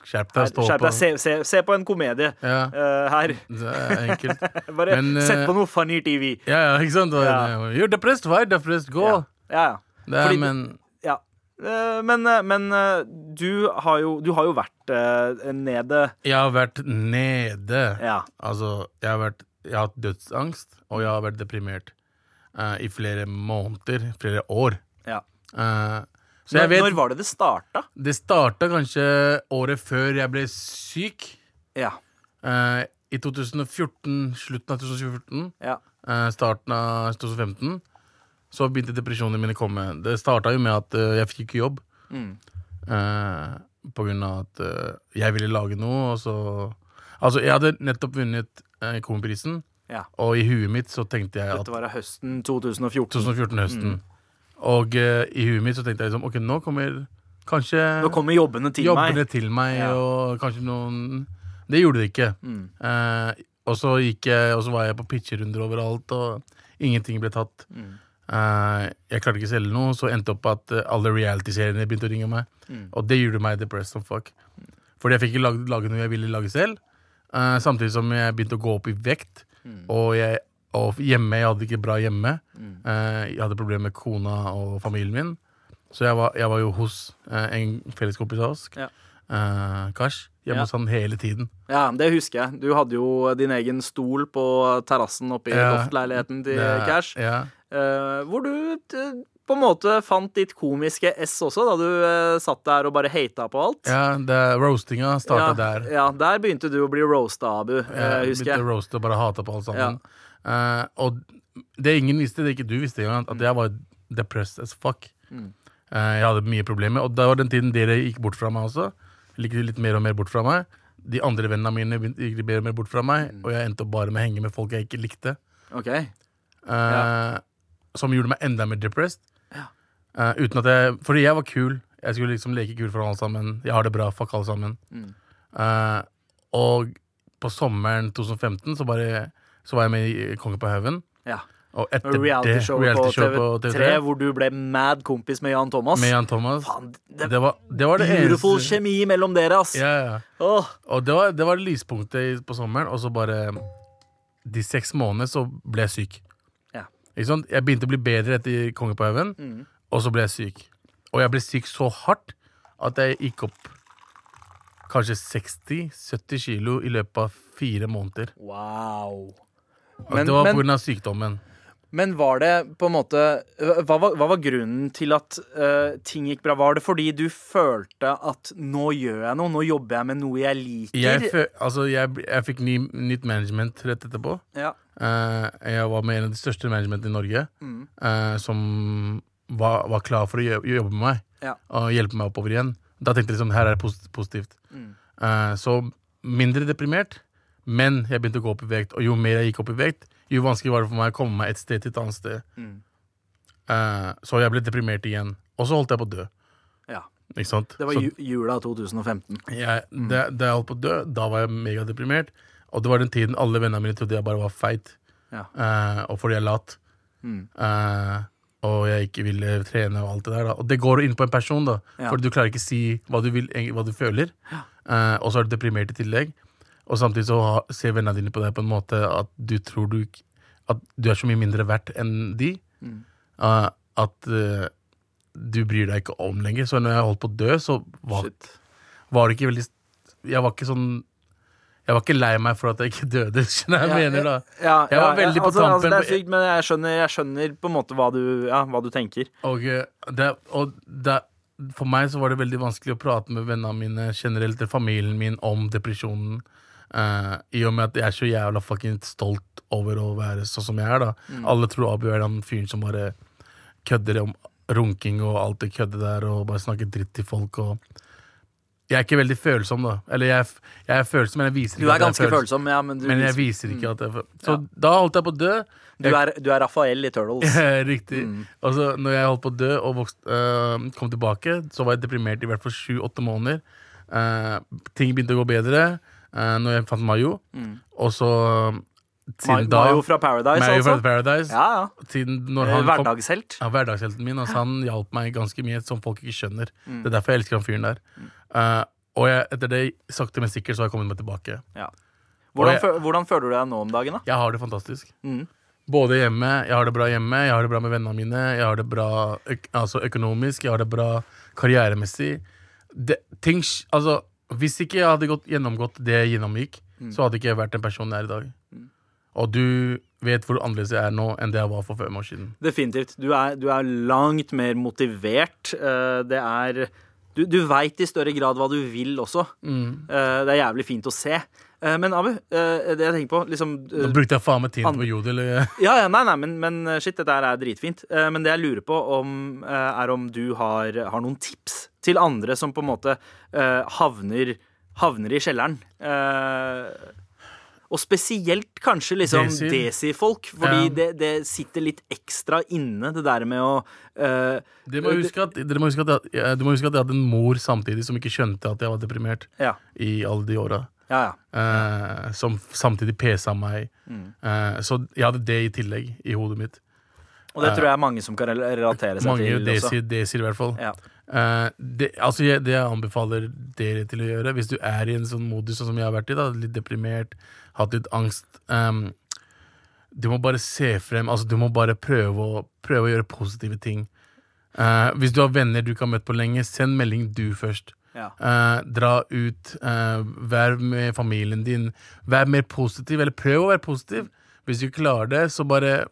[SPEAKER 5] skjerp deg, stå
[SPEAKER 3] Skjerp
[SPEAKER 5] på.
[SPEAKER 3] deg. Se, se, se på en komedie
[SPEAKER 5] Ja.
[SPEAKER 3] eh, her.
[SPEAKER 5] Det er enkelt.
[SPEAKER 3] Bare
[SPEAKER 5] Men, eh,
[SPEAKER 3] sett på noe funny TV.
[SPEAKER 5] Ja, ja, ikke sant?
[SPEAKER 3] Ja.
[SPEAKER 5] You're depressed, why depressed? Gå!
[SPEAKER 3] Ja, ja. ja.
[SPEAKER 5] Det er,
[SPEAKER 3] Fordi-
[SPEAKER 5] men
[SPEAKER 3] Ja. Eh, Men, eh, men eh, du, har jo, du har jo vært eh, nede
[SPEAKER 5] jeg har vært nede.
[SPEAKER 3] Ja.
[SPEAKER 5] Altså, jeg har, vært, jeg har hatt dødsangst, og jeg har vært deprimert eh, i flere måneder, flere år.
[SPEAKER 3] ja.
[SPEAKER 5] Eh, så
[SPEAKER 3] Når,
[SPEAKER 5] jeg vet
[SPEAKER 3] når var det det starta?
[SPEAKER 5] Det starta kanskje året før jeg ble syk.
[SPEAKER 3] Ja.
[SPEAKER 5] Eh, I 2014, slutten av 2014,
[SPEAKER 3] ja.
[SPEAKER 5] eh, starten av 2015, så begynte depresjonene mine å komme. Det starta jo med at eh, jeg fikk ikke jobb.
[SPEAKER 3] Mm.
[SPEAKER 5] Eh, på grunn av at eh, jeg ville lage noe, og så Altså, jeg hadde nettopp vunnet eh, Komiprisen,
[SPEAKER 3] ja.
[SPEAKER 5] og i huet mitt så tenkte jeg at
[SPEAKER 3] Dette var Mm. da høsten 2014.
[SPEAKER 5] 2014 høsten. Og eh, i huet mitt så tenkte jeg liksom OK, nå kommer kanskje
[SPEAKER 3] Nå kommer jobbene til
[SPEAKER 5] jobbene
[SPEAKER 3] meg.
[SPEAKER 5] til meg,
[SPEAKER 3] Ja. Mm.
[SPEAKER 5] og kanskje noen Det gjorde det ikke. Eh, og så gikk jeg, og så var jeg på pitcherunder overalt, og ingenting ble tatt.
[SPEAKER 3] Mm.
[SPEAKER 5] Eh, jeg klarte ikke å selge noe, så endte opp at eh, alle realityseriene begynte å ringe meg.
[SPEAKER 3] Mm.
[SPEAKER 5] Og det gjorde meg depressed som fuck. Fordi jeg fikk ikke lage, lage noe jeg ville lage selv. eh, samtidig som jeg begynte å gå opp i vekt.
[SPEAKER 3] Mm.
[SPEAKER 5] Og, jeg, og hjemme, jeg hadde det ikke bra hjemme.
[SPEAKER 3] Mm.
[SPEAKER 5] Eh, jeg hadde problemer med kona og familien min. Så jeg var, jeg var jo hos eh, en felleskompis av oss,
[SPEAKER 3] Ja.
[SPEAKER 5] eh, Kars, hjemme
[SPEAKER 3] Ja.
[SPEAKER 5] hos han hele tiden.
[SPEAKER 3] Ja, det husker jeg. Du hadde jo din egen stol på terrassen oppe i
[SPEAKER 5] Ja.
[SPEAKER 3] loftleiligheten til
[SPEAKER 5] Det-
[SPEAKER 3] Cash.
[SPEAKER 5] Ja.
[SPEAKER 3] eh, Hvor du eh, på en måte fant ditt komiske S også, da du eh, satt der og bare hata på alt.
[SPEAKER 5] ja, det, roastinga starta
[SPEAKER 3] ja,
[SPEAKER 5] der.
[SPEAKER 3] ja, der begynte du å bli roasta, Abu, eh,
[SPEAKER 5] Jeg
[SPEAKER 3] husker jeg.
[SPEAKER 5] begynte å roaste og bare hata på alt sammen. Eh, og det ingen visste, det ikke du visste engang, at jeg var depressed as fuck.
[SPEAKER 3] Mm.
[SPEAKER 5] Eh, jeg hadde mye problemer, og det var den tiden dere gikk bort fra meg også. Gikk litt mer og mer bort fra meg. De andre
[SPEAKER 3] Mm.
[SPEAKER 5] vennene mine begynte- gikk mer og mer bort fra meg, og jeg endte opp bare med å henge med folk jeg ikke likte.
[SPEAKER 3] Ok.
[SPEAKER 5] Eh, eh, som gjorde meg enda mer depressed. Eh, uten at jeg, fordi jeg var kul. Jeg skulle liksom leke kul for alle sammen. Jeg har det bra, fuck alle sammen.
[SPEAKER 3] Mm.
[SPEAKER 5] Eh, og på sommeren 2015 så, bare, så var jeg med i Konge på haugen.
[SPEAKER 3] Ja.
[SPEAKER 5] Og etter det
[SPEAKER 3] Realityshowet på
[SPEAKER 5] realityshow
[SPEAKER 3] TV3, hvor du ble mad kompis med Jan Thomas.
[SPEAKER 5] med Jan Thomas.
[SPEAKER 3] Faen, det,
[SPEAKER 5] det, var, det var det
[SPEAKER 3] beautiful
[SPEAKER 5] eneste
[SPEAKER 3] kjemi mellom dere, ass.
[SPEAKER 5] ja, ja.
[SPEAKER 3] Åh,
[SPEAKER 5] Og det var, det var lyspunktet i- på sommeren, og så bare De seks månedene så ble jeg syk.
[SPEAKER 3] Ja. Mm.
[SPEAKER 5] Ikke sant? Jeg begynte å bli bedre etter Konge på haugen, og så ble jeg syk. Og jeg ble syk så hardt at jeg gikk opp kanskje 60-70 kilo i løpet av fire måneder.
[SPEAKER 3] wow.
[SPEAKER 5] Og
[SPEAKER 3] Men-
[SPEAKER 5] det var
[SPEAKER 3] men-
[SPEAKER 5] pga. sykdommen.
[SPEAKER 3] Men var det på en måte Hva var, hva var grunnen til at eh, ting gikk bra? Var det fordi du følte at nå gjør jeg noe, nå jobber jeg med noe jeg liker?
[SPEAKER 5] Jeg, fø- altså, jeg, bl- jeg fikk ny, nytt management rett etterpå.
[SPEAKER 3] ja.
[SPEAKER 5] Eh, jeg var med en av de største managementene i Norge,
[SPEAKER 3] Mm.
[SPEAKER 5] eh, som var, var klar for å gjø- jobbe med meg
[SPEAKER 3] Ja.
[SPEAKER 5] og hjelpe meg oppover igjen. Da tenkte jeg liksom, her er det posit- positivt.
[SPEAKER 3] Mm.
[SPEAKER 5] Eh, så mindre deprimert, men jeg begynte å gå opp i vekt. Og jo mer jeg gikk opp i vekt, jo vanskeligere var det for meg å komme meg et sted til et annet sted.
[SPEAKER 3] Mm.
[SPEAKER 5] Eh, så jeg ble deprimert igjen. Og så holdt jeg på å dø.
[SPEAKER 3] ja.
[SPEAKER 5] Ikke sant?
[SPEAKER 3] Det var
[SPEAKER 5] så,
[SPEAKER 3] ju jula 2015.
[SPEAKER 5] jeg,
[SPEAKER 3] Mm.
[SPEAKER 5] da, da jeg holdt på å dø, da var jeg megadeprimert. Og det var den tiden alle vennene mine trodde jeg bare var feit.
[SPEAKER 3] Ja. Mm.
[SPEAKER 5] Eh, og fordi jeg er lat. Eh, og jeg ikke ville trene og alt det der. Da. Og det går inn på en person, da.
[SPEAKER 3] Ja.
[SPEAKER 5] Fordi du klarer ikke si hva du, vil, eng- hva du føler. Eh, og så er du deprimert i tillegg. Og samtidig så ha, ser vennene dine på deg på en måte at du tror du ikke- At du er så mye mindre verdt enn de.
[SPEAKER 3] Mm.
[SPEAKER 5] Eh, at eh, du bryr deg ikke om lenger. Så når jeg holdt på å dø, så var, var det ikke veldig Jeg var ikke sånn Jeg var ikke lei meg for at jeg ikke døde, skjønner jeg hva jeg mener da.
[SPEAKER 3] Ja,
[SPEAKER 5] Jeg
[SPEAKER 3] ja,
[SPEAKER 5] var
[SPEAKER 3] ja,
[SPEAKER 5] veldig på
[SPEAKER 3] altså, altså,
[SPEAKER 5] tampen
[SPEAKER 3] det er
[SPEAKER 5] på-
[SPEAKER 3] sykt, men jeg skjønner, jeg skjønner på en måte hva du, ja, hva du tenker.
[SPEAKER 5] Og, eh, det, og det, for meg så var det veldig vanskelig å prate med vennene mine generelt, eller familien min, om depresjonen. eh, I og med at jeg er så jævla fucking stolt over å være sånn som jeg er, da.
[SPEAKER 3] Mm.
[SPEAKER 5] Alle tror Abu er den fyren som bare kødder om runking og alt det køddet der, og bare snakker dritt til folk og Jeg er ikke veldig følsom, da. Eller jeg, er f- jeg er følsom, men jeg viser
[SPEAKER 3] Du
[SPEAKER 5] ikke
[SPEAKER 3] er ganske
[SPEAKER 5] jeg er følsom.
[SPEAKER 3] følsom, ja, men du, liksom- Mm.
[SPEAKER 5] Men jeg viser ikke at jeg er følsom. Så da holdt jeg på å dø.
[SPEAKER 3] du er, du er Rafael i Turtles.
[SPEAKER 5] Riktig.
[SPEAKER 3] Mm.
[SPEAKER 5] Og så når jeg holdt på å dø og vokst, øh, kom tilbake, så var jeg deprimert i hvert fall sju-åtte måneder. Eh, ting begynte å gå bedre eh, når jeg fant Mayo. Og så
[SPEAKER 3] Mm.
[SPEAKER 5] eh,
[SPEAKER 3] Ma-
[SPEAKER 5] siden da
[SPEAKER 3] Mayo fra Paradise,
[SPEAKER 5] Mayo fra
[SPEAKER 3] altså.
[SPEAKER 5] Paradise.
[SPEAKER 3] Ja, ja.
[SPEAKER 5] Siden når
[SPEAKER 3] Eh,
[SPEAKER 5] han kom,
[SPEAKER 3] Hverdagshelten.
[SPEAKER 5] ja, hverdagshelten min. Altså, han hjalp meg ganske mye, som folk ikke skjønner.
[SPEAKER 3] Mm.
[SPEAKER 5] Det er derfor jeg elsker han fyren der. Eh, og jeg, etter det, sakte, men sikkert, så har jeg kommet meg tilbake.
[SPEAKER 3] Ja. Hvordan,
[SPEAKER 5] Og jeg-
[SPEAKER 3] fø- hvordan føler du deg nå om dagen, da?
[SPEAKER 5] Jeg har det fantastisk.
[SPEAKER 3] Mm.
[SPEAKER 5] Både hjemme, jeg har det bra hjemme, jeg har det bra med vennene mine, jeg har det bra øk altså økonomisk, jeg har det bra karrieremessig. Det, ting, sk- altså, hvis ikke jeg hadde gått, gjennomgått det jeg gjennomgikk,
[SPEAKER 3] Mm.
[SPEAKER 5] så hadde ikke jeg vært den personen jeg er i dag. Og du vet hvor annerledes jeg er nå enn det jeg var for fem år siden.
[SPEAKER 3] Definitivt. Du er, du er langt mer motivert. Eh, Det er Du, du veit i større grad hva du vil også.
[SPEAKER 5] Mm.
[SPEAKER 3] Eh, Det er jævlig fint å se. Eh, Men Abu, eh, det jeg tenker på liksom,
[SPEAKER 5] Nå
[SPEAKER 3] eh,
[SPEAKER 5] brukte jeg faen meg tiden
[SPEAKER 3] an-
[SPEAKER 5] på jodel. eh,
[SPEAKER 3] Ja, ja, nei, nei, men, men shit, dette her er dritfint. Eh, Men det jeg lurer på, om, eh, er om du har, har noen tips til andre som på en måte eh, havner, havner i kjelleren. Eh, Og spesielt kanskje liksom
[SPEAKER 5] Desi.
[SPEAKER 3] desi-folk, fordi
[SPEAKER 5] Ja.
[SPEAKER 3] det, det sitter litt ekstra inne, det der med å eh,
[SPEAKER 5] Dere må huske at, dere må huske at, jeg, eh, du må huske at jeg hadde en mor samtidig som ikke skjønte at jeg var deprimert
[SPEAKER 3] Ja,
[SPEAKER 5] i alle de åra.
[SPEAKER 3] ja. ja.
[SPEAKER 5] Eh, som f- samtidig pesa meg.
[SPEAKER 3] Mm.
[SPEAKER 5] Eh, så jeg hadde det i tillegg i hodet mitt.
[SPEAKER 3] Og det tror jeg er mange som kan rel- relatere seg
[SPEAKER 5] Mange
[SPEAKER 3] til også.
[SPEAKER 5] desier, desier i hvert fall.
[SPEAKER 3] Ja.
[SPEAKER 5] Eh, det, altså jeg, det jeg anbefaler dere til å gjøre, hvis du er i en sånn modus sånn som jeg har vært i, da, litt deprimert, hatt litt angst ehm, Du må bare se frem, altså du må bare prøve å, prøve å gjøre positive ting. Eh, hvis du har venner du ikke har møtt på lenge, send melding du først.
[SPEAKER 3] Ja.
[SPEAKER 5] Eh, dra ut, eh, vær med familien din. Vær mer positiv, eller prøv å være positiv. Hvis du ikke klarer det, så bare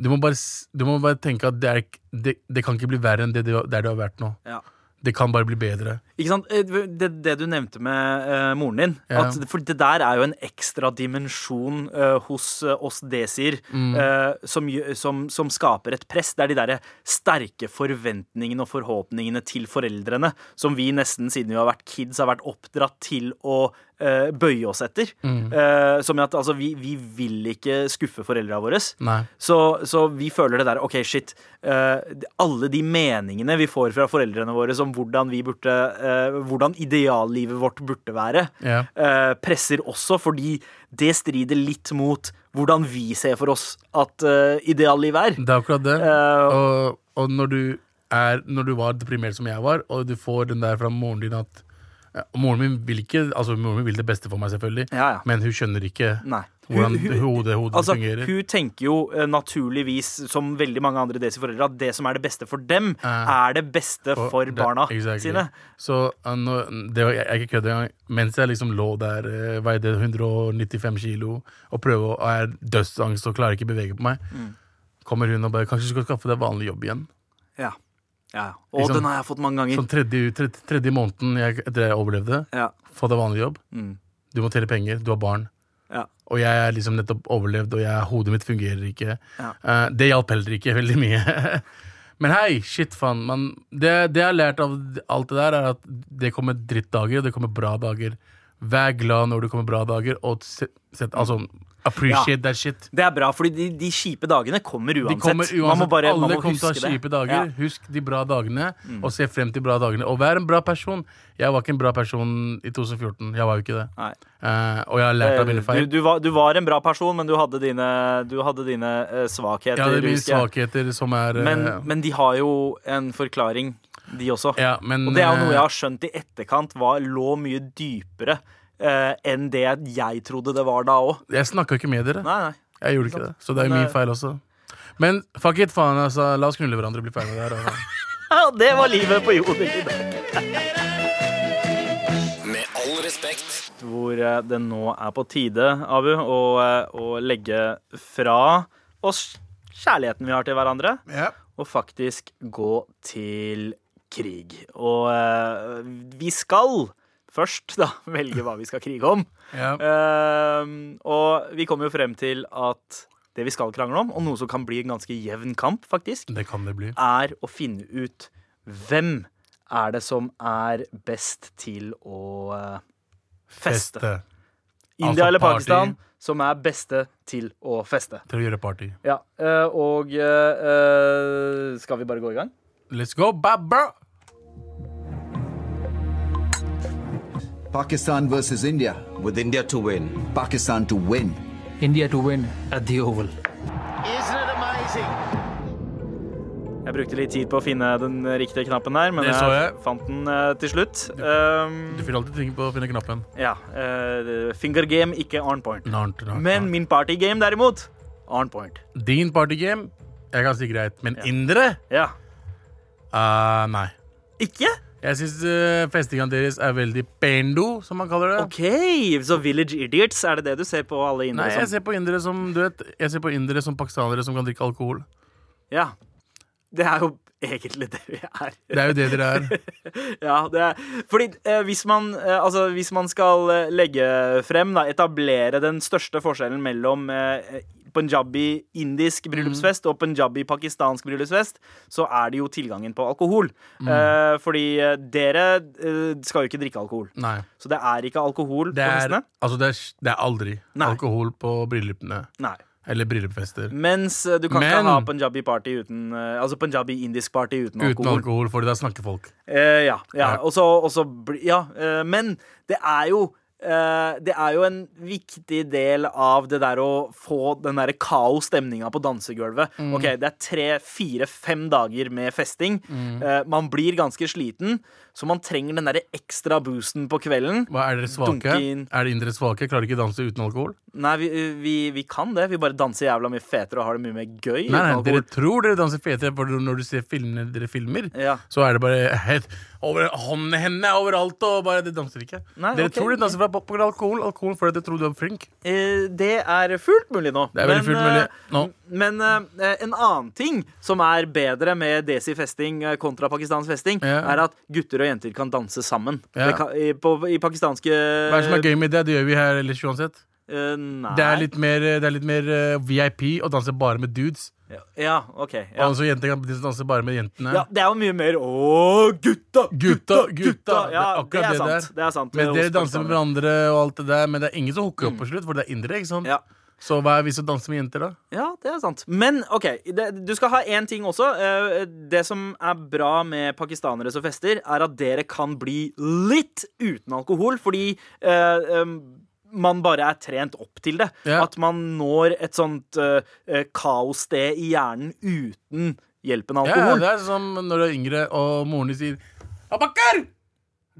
[SPEAKER 5] Du må bare, s- du må bare tenke at det, er, ikk- det, det kan ikke bli verre enn det du, der du har vært nå.
[SPEAKER 3] Ja.
[SPEAKER 5] Det kan bare bli bedre.
[SPEAKER 3] Ikke sant? Eh, Det, det du nevnte med eh, moren din
[SPEAKER 5] Ja.
[SPEAKER 3] at, For det der er jo en ekstra dimensjon eh, hos eh, oss desier
[SPEAKER 5] Mm.
[SPEAKER 3] eh, som, gjø- som, som skaper et press. Det er de derre sterke forventningene og forhåpningene til foreldrene som vi nesten siden vi har vært kids, har vært oppdratt til å eh, bøye oss etter.
[SPEAKER 5] Mm.
[SPEAKER 3] Eh, som i at altså, vi, vi vil ikke skuffe foreldra våre.
[SPEAKER 5] Nei.
[SPEAKER 3] Så, så vi føler det der OK, shit. eh, alle de meningene vi får fra foreldrene våre om hvordan, vi burde, eh, hvordan ideallivet vårt burde være,
[SPEAKER 5] Ja.
[SPEAKER 3] eh, presser også fordi det strider litt mot hvordan vi ser for oss at eh, ideallivet er.
[SPEAKER 5] Det er akkurat det.
[SPEAKER 3] Eh,
[SPEAKER 5] og, og når du er Når du var deprimert som jeg var, og du får den der fra moren din at ja, Moren min vil ikke Altså moren min vil det beste for meg, selvfølgelig,
[SPEAKER 3] Ja, ja.
[SPEAKER 5] men hun skjønner ikke
[SPEAKER 3] Nei.
[SPEAKER 5] hvordan
[SPEAKER 3] Hun- hun-
[SPEAKER 5] hodet, hodet
[SPEAKER 3] Altså,
[SPEAKER 5] fungerer.
[SPEAKER 3] Hun tenker jo eh, naturligvis, som veldig mange andre Desi-foreldre, at det som er det beste for dem,
[SPEAKER 5] Ja.
[SPEAKER 3] er det beste
[SPEAKER 5] Og
[SPEAKER 3] for
[SPEAKER 5] det-
[SPEAKER 3] barna
[SPEAKER 5] exactly.
[SPEAKER 3] sine.
[SPEAKER 5] Så uh, nå- det var, jeg, jeg ikke kødder engang. Mens jeg liksom lå der, eh, veide 195 kilo og prøver å og er dødsangst og klarer ikke å bevege på meg,
[SPEAKER 3] Mm.
[SPEAKER 5] kommer hun og bare 'Kanskje du skal skaffe deg vanlig jobb igjen?'
[SPEAKER 3] Ja. ja. Og
[SPEAKER 5] Liksom-
[SPEAKER 3] den har jeg fått mange ganger.
[SPEAKER 5] Sånn tredje, tredje, tredje måneden jeg, etter jeg overlevde.
[SPEAKER 3] Ja.
[SPEAKER 5] Få deg vanlig jobb.
[SPEAKER 3] Mm.
[SPEAKER 5] Du må tjene penger. Du har barn.
[SPEAKER 3] Ja.
[SPEAKER 5] Og jeg er liksom nettopp overlevd, og jeg, hodet mitt fungerer ikke.
[SPEAKER 3] Ja.
[SPEAKER 5] Eh, det hjalp heller ikke veldig mye. Men hei, shit, faen. Man, det, det jeg har lært av alt det der, er at det kommer drittdager, og det kommer bra dager. Vær glad når det kommer bra dager, og se- sett, altså, appreciate that shit.
[SPEAKER 3] Det er bra, fordi de, de kjipe dagene kommer
[SPEAKER 5] De
[SPEAKER 3] uansett.
[SPEAKER 5] kommer
[SPEAKER 3] Man må
[SPEAKER 5] uansett,
[SPEAKER 3] bare man
[SPEAKER 5] Alle
[SPEAKER 3] må
[SPEAKER 5] kommer til å
[SPEAKER 3] huske
[SPEAKER 5] ha kjipe
[SPEAKER 3] det. Mm.
[SPEAKER 5] dager. Husk de bra dagene, og se frem til bra dagene. Og vær en bra person. Jeg var ikke en bra person i 2014. Jeg var jo ikke det.
[SPEAKER 3] Ja. Nei.
[SPEAKER 5] Eh, og jeg har lært av mine feil.
[SPEAKER 3] Du, du, var, du var en bra person, men du hadde dine, du hadde dine eh, svakheter.
[SPEAKER 5] Ja, det er mine
[SPEAKER 3] husker jeg.
[SPEAKER 5] svakheter som er
[SPEAKER 3] Men,
[SPEAKER 5] eh,
[SPEAKER 3] men de har jo en forklaring, de også.
[SPEAKER 5] ja, men,
[SPEAKER 3] Og det er jo noe jeg
[SPEAKER 5] eh,
[SPEAKER 3] har skjønt i etterkant var, lå mye dypere eh, enn det jeg trodde det var da òg.
[SPEAKER 5] eh, Jeg snakka ikke med dere.
[SPEAKER 3] Nei, nei.
[SPEAKER 5] Jeg gjorde ikke det. Så det er jo
[SPEAKER 3] Men,
[SPEAKER 5] min
[SPEAKER 3] eh,
[SPEAKER 5] feil også. Men fuck it, faen. Altså, la oss knulle hverandre og bli ferdig med det her. altså.
[SPEAKER 3] Ja, det var livet på jorda i dag.
[SPEAKER 1] Med all respekt.
[SPEAKER 3] Hvor eh, det nå er på tide, Abu, å, eh, å legge fra oss kjærligheten vi har til hverandre, og faktisk gå til krig. Og eh, vi skal først da velge hva vi skal krige om.
[SPEAKER 5] Ja.
[SPEAKER 3] Eh, Ehm, og vi kommer jo frem til at det vi skal krangle om, og noe som kan bli en ganske jevn kamp, faktisk,
[SPEAKER 5] Det kan det bli.
[SPEAKER 3] er å finne ut hvem er det som er best til å eh, feste.
[SPEAKER 5] Feste.
[SPEAKER 3] India
[SPEAKER 5] Altså
[SPEAKER 3] eller
[SPEAKER 5] party.
[SPEAKER 3] Pakistan som er beste til å feste.
[SPEAKER 5] Til å gjøre party.
[SPEAKER 3] Ja, eh, og eh, eh, skal vi bare gå i gang?
[SPEAKER 5] Let's go, babba!
[SPEAKER 4] Pakistan versus India.
[SPEAKER 6] with India to win.
[SPEAKER 4] Pakistan to win.
[SPEAKER 7] India to win at the Oval.
[SPEAKER 3] Jeg brukte litt tid på å finne den riktige knappen her, men
[SPEAKER 5] Det
[SPEAKER 3] jeg,
[SPEAKER 5] så jeg.
[SPEAKER 3] fant den eh, til slutt. Ehm,
[SPEAKER 5] Du finner alltid ting på å finne knappen.
[SPEAKER 3] Ja. eh, finger game, ikke on point.
[SPEAKER 5] Narnt, narnt,
[SPEAKER 3] Men
[SPEAKER 5] narnt.
[SPEAKER 3] min party game, derimot, on point.
[SPEAKER 5] Din partygame Jeg kan si greit, men indre?
[SPEAKER 3] Ja.
[SPEAKER 5] Ah, nei.
[SPEAKER 3] Ikke?
[SPEAKER 5] Jeg syns uh, festinga deres er veldig pendo, som man kaller det.
[SPEAKER 3] OK, så Village Idiots, er det det du ser på alle
[SPEAKER 5] Nei,
[SPEAKER 3] innere
[SPEAKER 5] jeg
[SPEAKER 3] som?
[SPEAKER 5] ser på indere som du vet, jeg ser på indere som pakistanere som kan drikke alkohol.
[SPEAKER 3] Ja. Det er jo egentlig det vi er.
[SPEAKER 5] Det er jo det dere er.
[SPEAKER 3] Ja, det er Fordi eh, hvis, man, eh, altså, hvis man skal eh, legge frem, da, etablere den største forskjellen mellom eh, punjabi-indisk
[SPEAKER 5] Mm.
[SPEAKER 3] bryllupsfest og punjabi-pakistansk bryllupsfest, så er det jo tilgangen på alkohol.
[SPEAKER 5] Mm.
[SPEAKER 3] Eh, fordi eh, dere eh, skal jo ikke drikke alkohol.
[SPEAKER 5] Nei.
[SPEAKER 3] Så det er ikke alkohol
[SPEAKER 5] Det
[SPEAKER 3] på
[SPEAKER 5] er,
[SPEAKER 3] festene.
[SPEAKER 5] altså det er, det er aldri
[SPEAKER 3] Nei.
[SPEAKER 5] alkohol på bryllupene.
[SPEAKER 3] Nei.
[SPEAKER 5] Eller bryllupfester.
[SPEAKER 3] Mens eh, du kan
[SPEAKER 5] Men-
[SPEAKER 3] ikke ha punjabi-party uten eh, Altså punjabi-indisk party uten alkohol.
[SPEAKER 5] Uten alkohol, for da snakker folk.
[SPEAKER 3] Eh, ja. ja.
[SPEAKER 5] Ja.
[SPEAKER 3] Og så, og så bli- Ja. eh, men det er jo eh, det er jo en viktig del av det der å få den der kaosstemninga på dansegulvet.
[SPEAKER 5] Mm.
[SPEAKER 3] Ok, Det er tre, fire, fem dager med festing.
[SPEAKER 5] Mm.
[SPEAKER 3] Eh, man blir ganske sliten, så man trenger den der ekstra boosten på kvelden.
[SPEAKER 5] Hva Er dere svake?
[SPEAKER 3] Dunke inn.
[SPEAKER 5] Er det indre svake? Klarer ikke danse uten alkohol?
[SPEAKER 3] Nei, vi, vi, vi kan det. Vi bare danser jævla mye fetere og har det mye mer gøy.
[SPEAKER 5] Nei, nei,
[SPEAKER 3] uten
[SPEAKER 5] Dere
[SPEAKER 3] alkohol.
[SPEAKER 5] tror dere danser fetere, for når du ser filmene dere filmer,
[SPEAKER 3] Ja.
[SPEAKER 5] så er det bare het, over, hånden, hendene er overalt, og bare dere danser ikke.
[SPEAKER 3] Nei,
[SPEAKER 5] dere
[SPEAKER 3] ok,
[SPEAKER 5] tror dere danser fra- på grunn av alkohol, alkohol fordi dere tror du er flink.
[SPEAKER 3] Eh, det er fullt mulig nå.
[SPEAKER 5] Det er veldig fullt mulig nå.
[SPEAKER 3] eh, Men eh, en annen ting som er bedre med Desi-festing eh, kontra pakistansk festing,
[SPEAKER 5] Ja.
[SPEAKER 3] er at gutter og jenter kan danse sammen.
[SPEAKER 5] Ja.
[SPEAKER 3] Det kan, i, på, I pakistanske
[SPEAKER 5] Hva er det som er gøy med det? Det gjør vi her ellers uansett.
[SPEAKER 3] Eh, nei.
[SPEAKER 5] Det er litt mer, det er litt mer eh, VIP å danse bare med dudes.
[SPEAKER 3] Ja, OK. Ja.
[SPEAKER 5] Altså, jenter kan distanse bare med jentene.
[SPEAKER 3] Ja, det er jo mye mer Å, gutta!
[SPEAKER 5] Gutta, gutta!
[SPEAKER 3] Ja, det
[SPEAKER 5] akkurat
[SPEAKER 3] er sant. Det er sant
[SPEAKER 5] Men
[SPEAKER 3] hos
[SPEAKER 5] dere danser med
[SPEAKER 3] pakistanere.
[SPEAKER 5] hverandre og alt det der, men det er ingen som hooker opp på slutt, for det er indre, ikke sant?
[SPEAKER 3] Ja.
[SPEAKER 5] Så hva er vi som danser med jenter, da?
[SPEAKER 3] Ja, det er sant. Men OK, det, du skal ha én ting også. Eh, Det som er bra med pakistanere som fester, er at dere kan bli litt uten alkohol, fordi eh, em, man bare er trent opp til det.
[SPEAKER 5] Ja.
[SPEAKER 3] At man når et sånt eh, eh, kaossted i hjernen uten hjelpen av
[SPEAKER 5] Ja,
[SPEAKER 3] alkohol.
[SPEAKER 5] det er som når du er yngre, og moren din sier Abakar!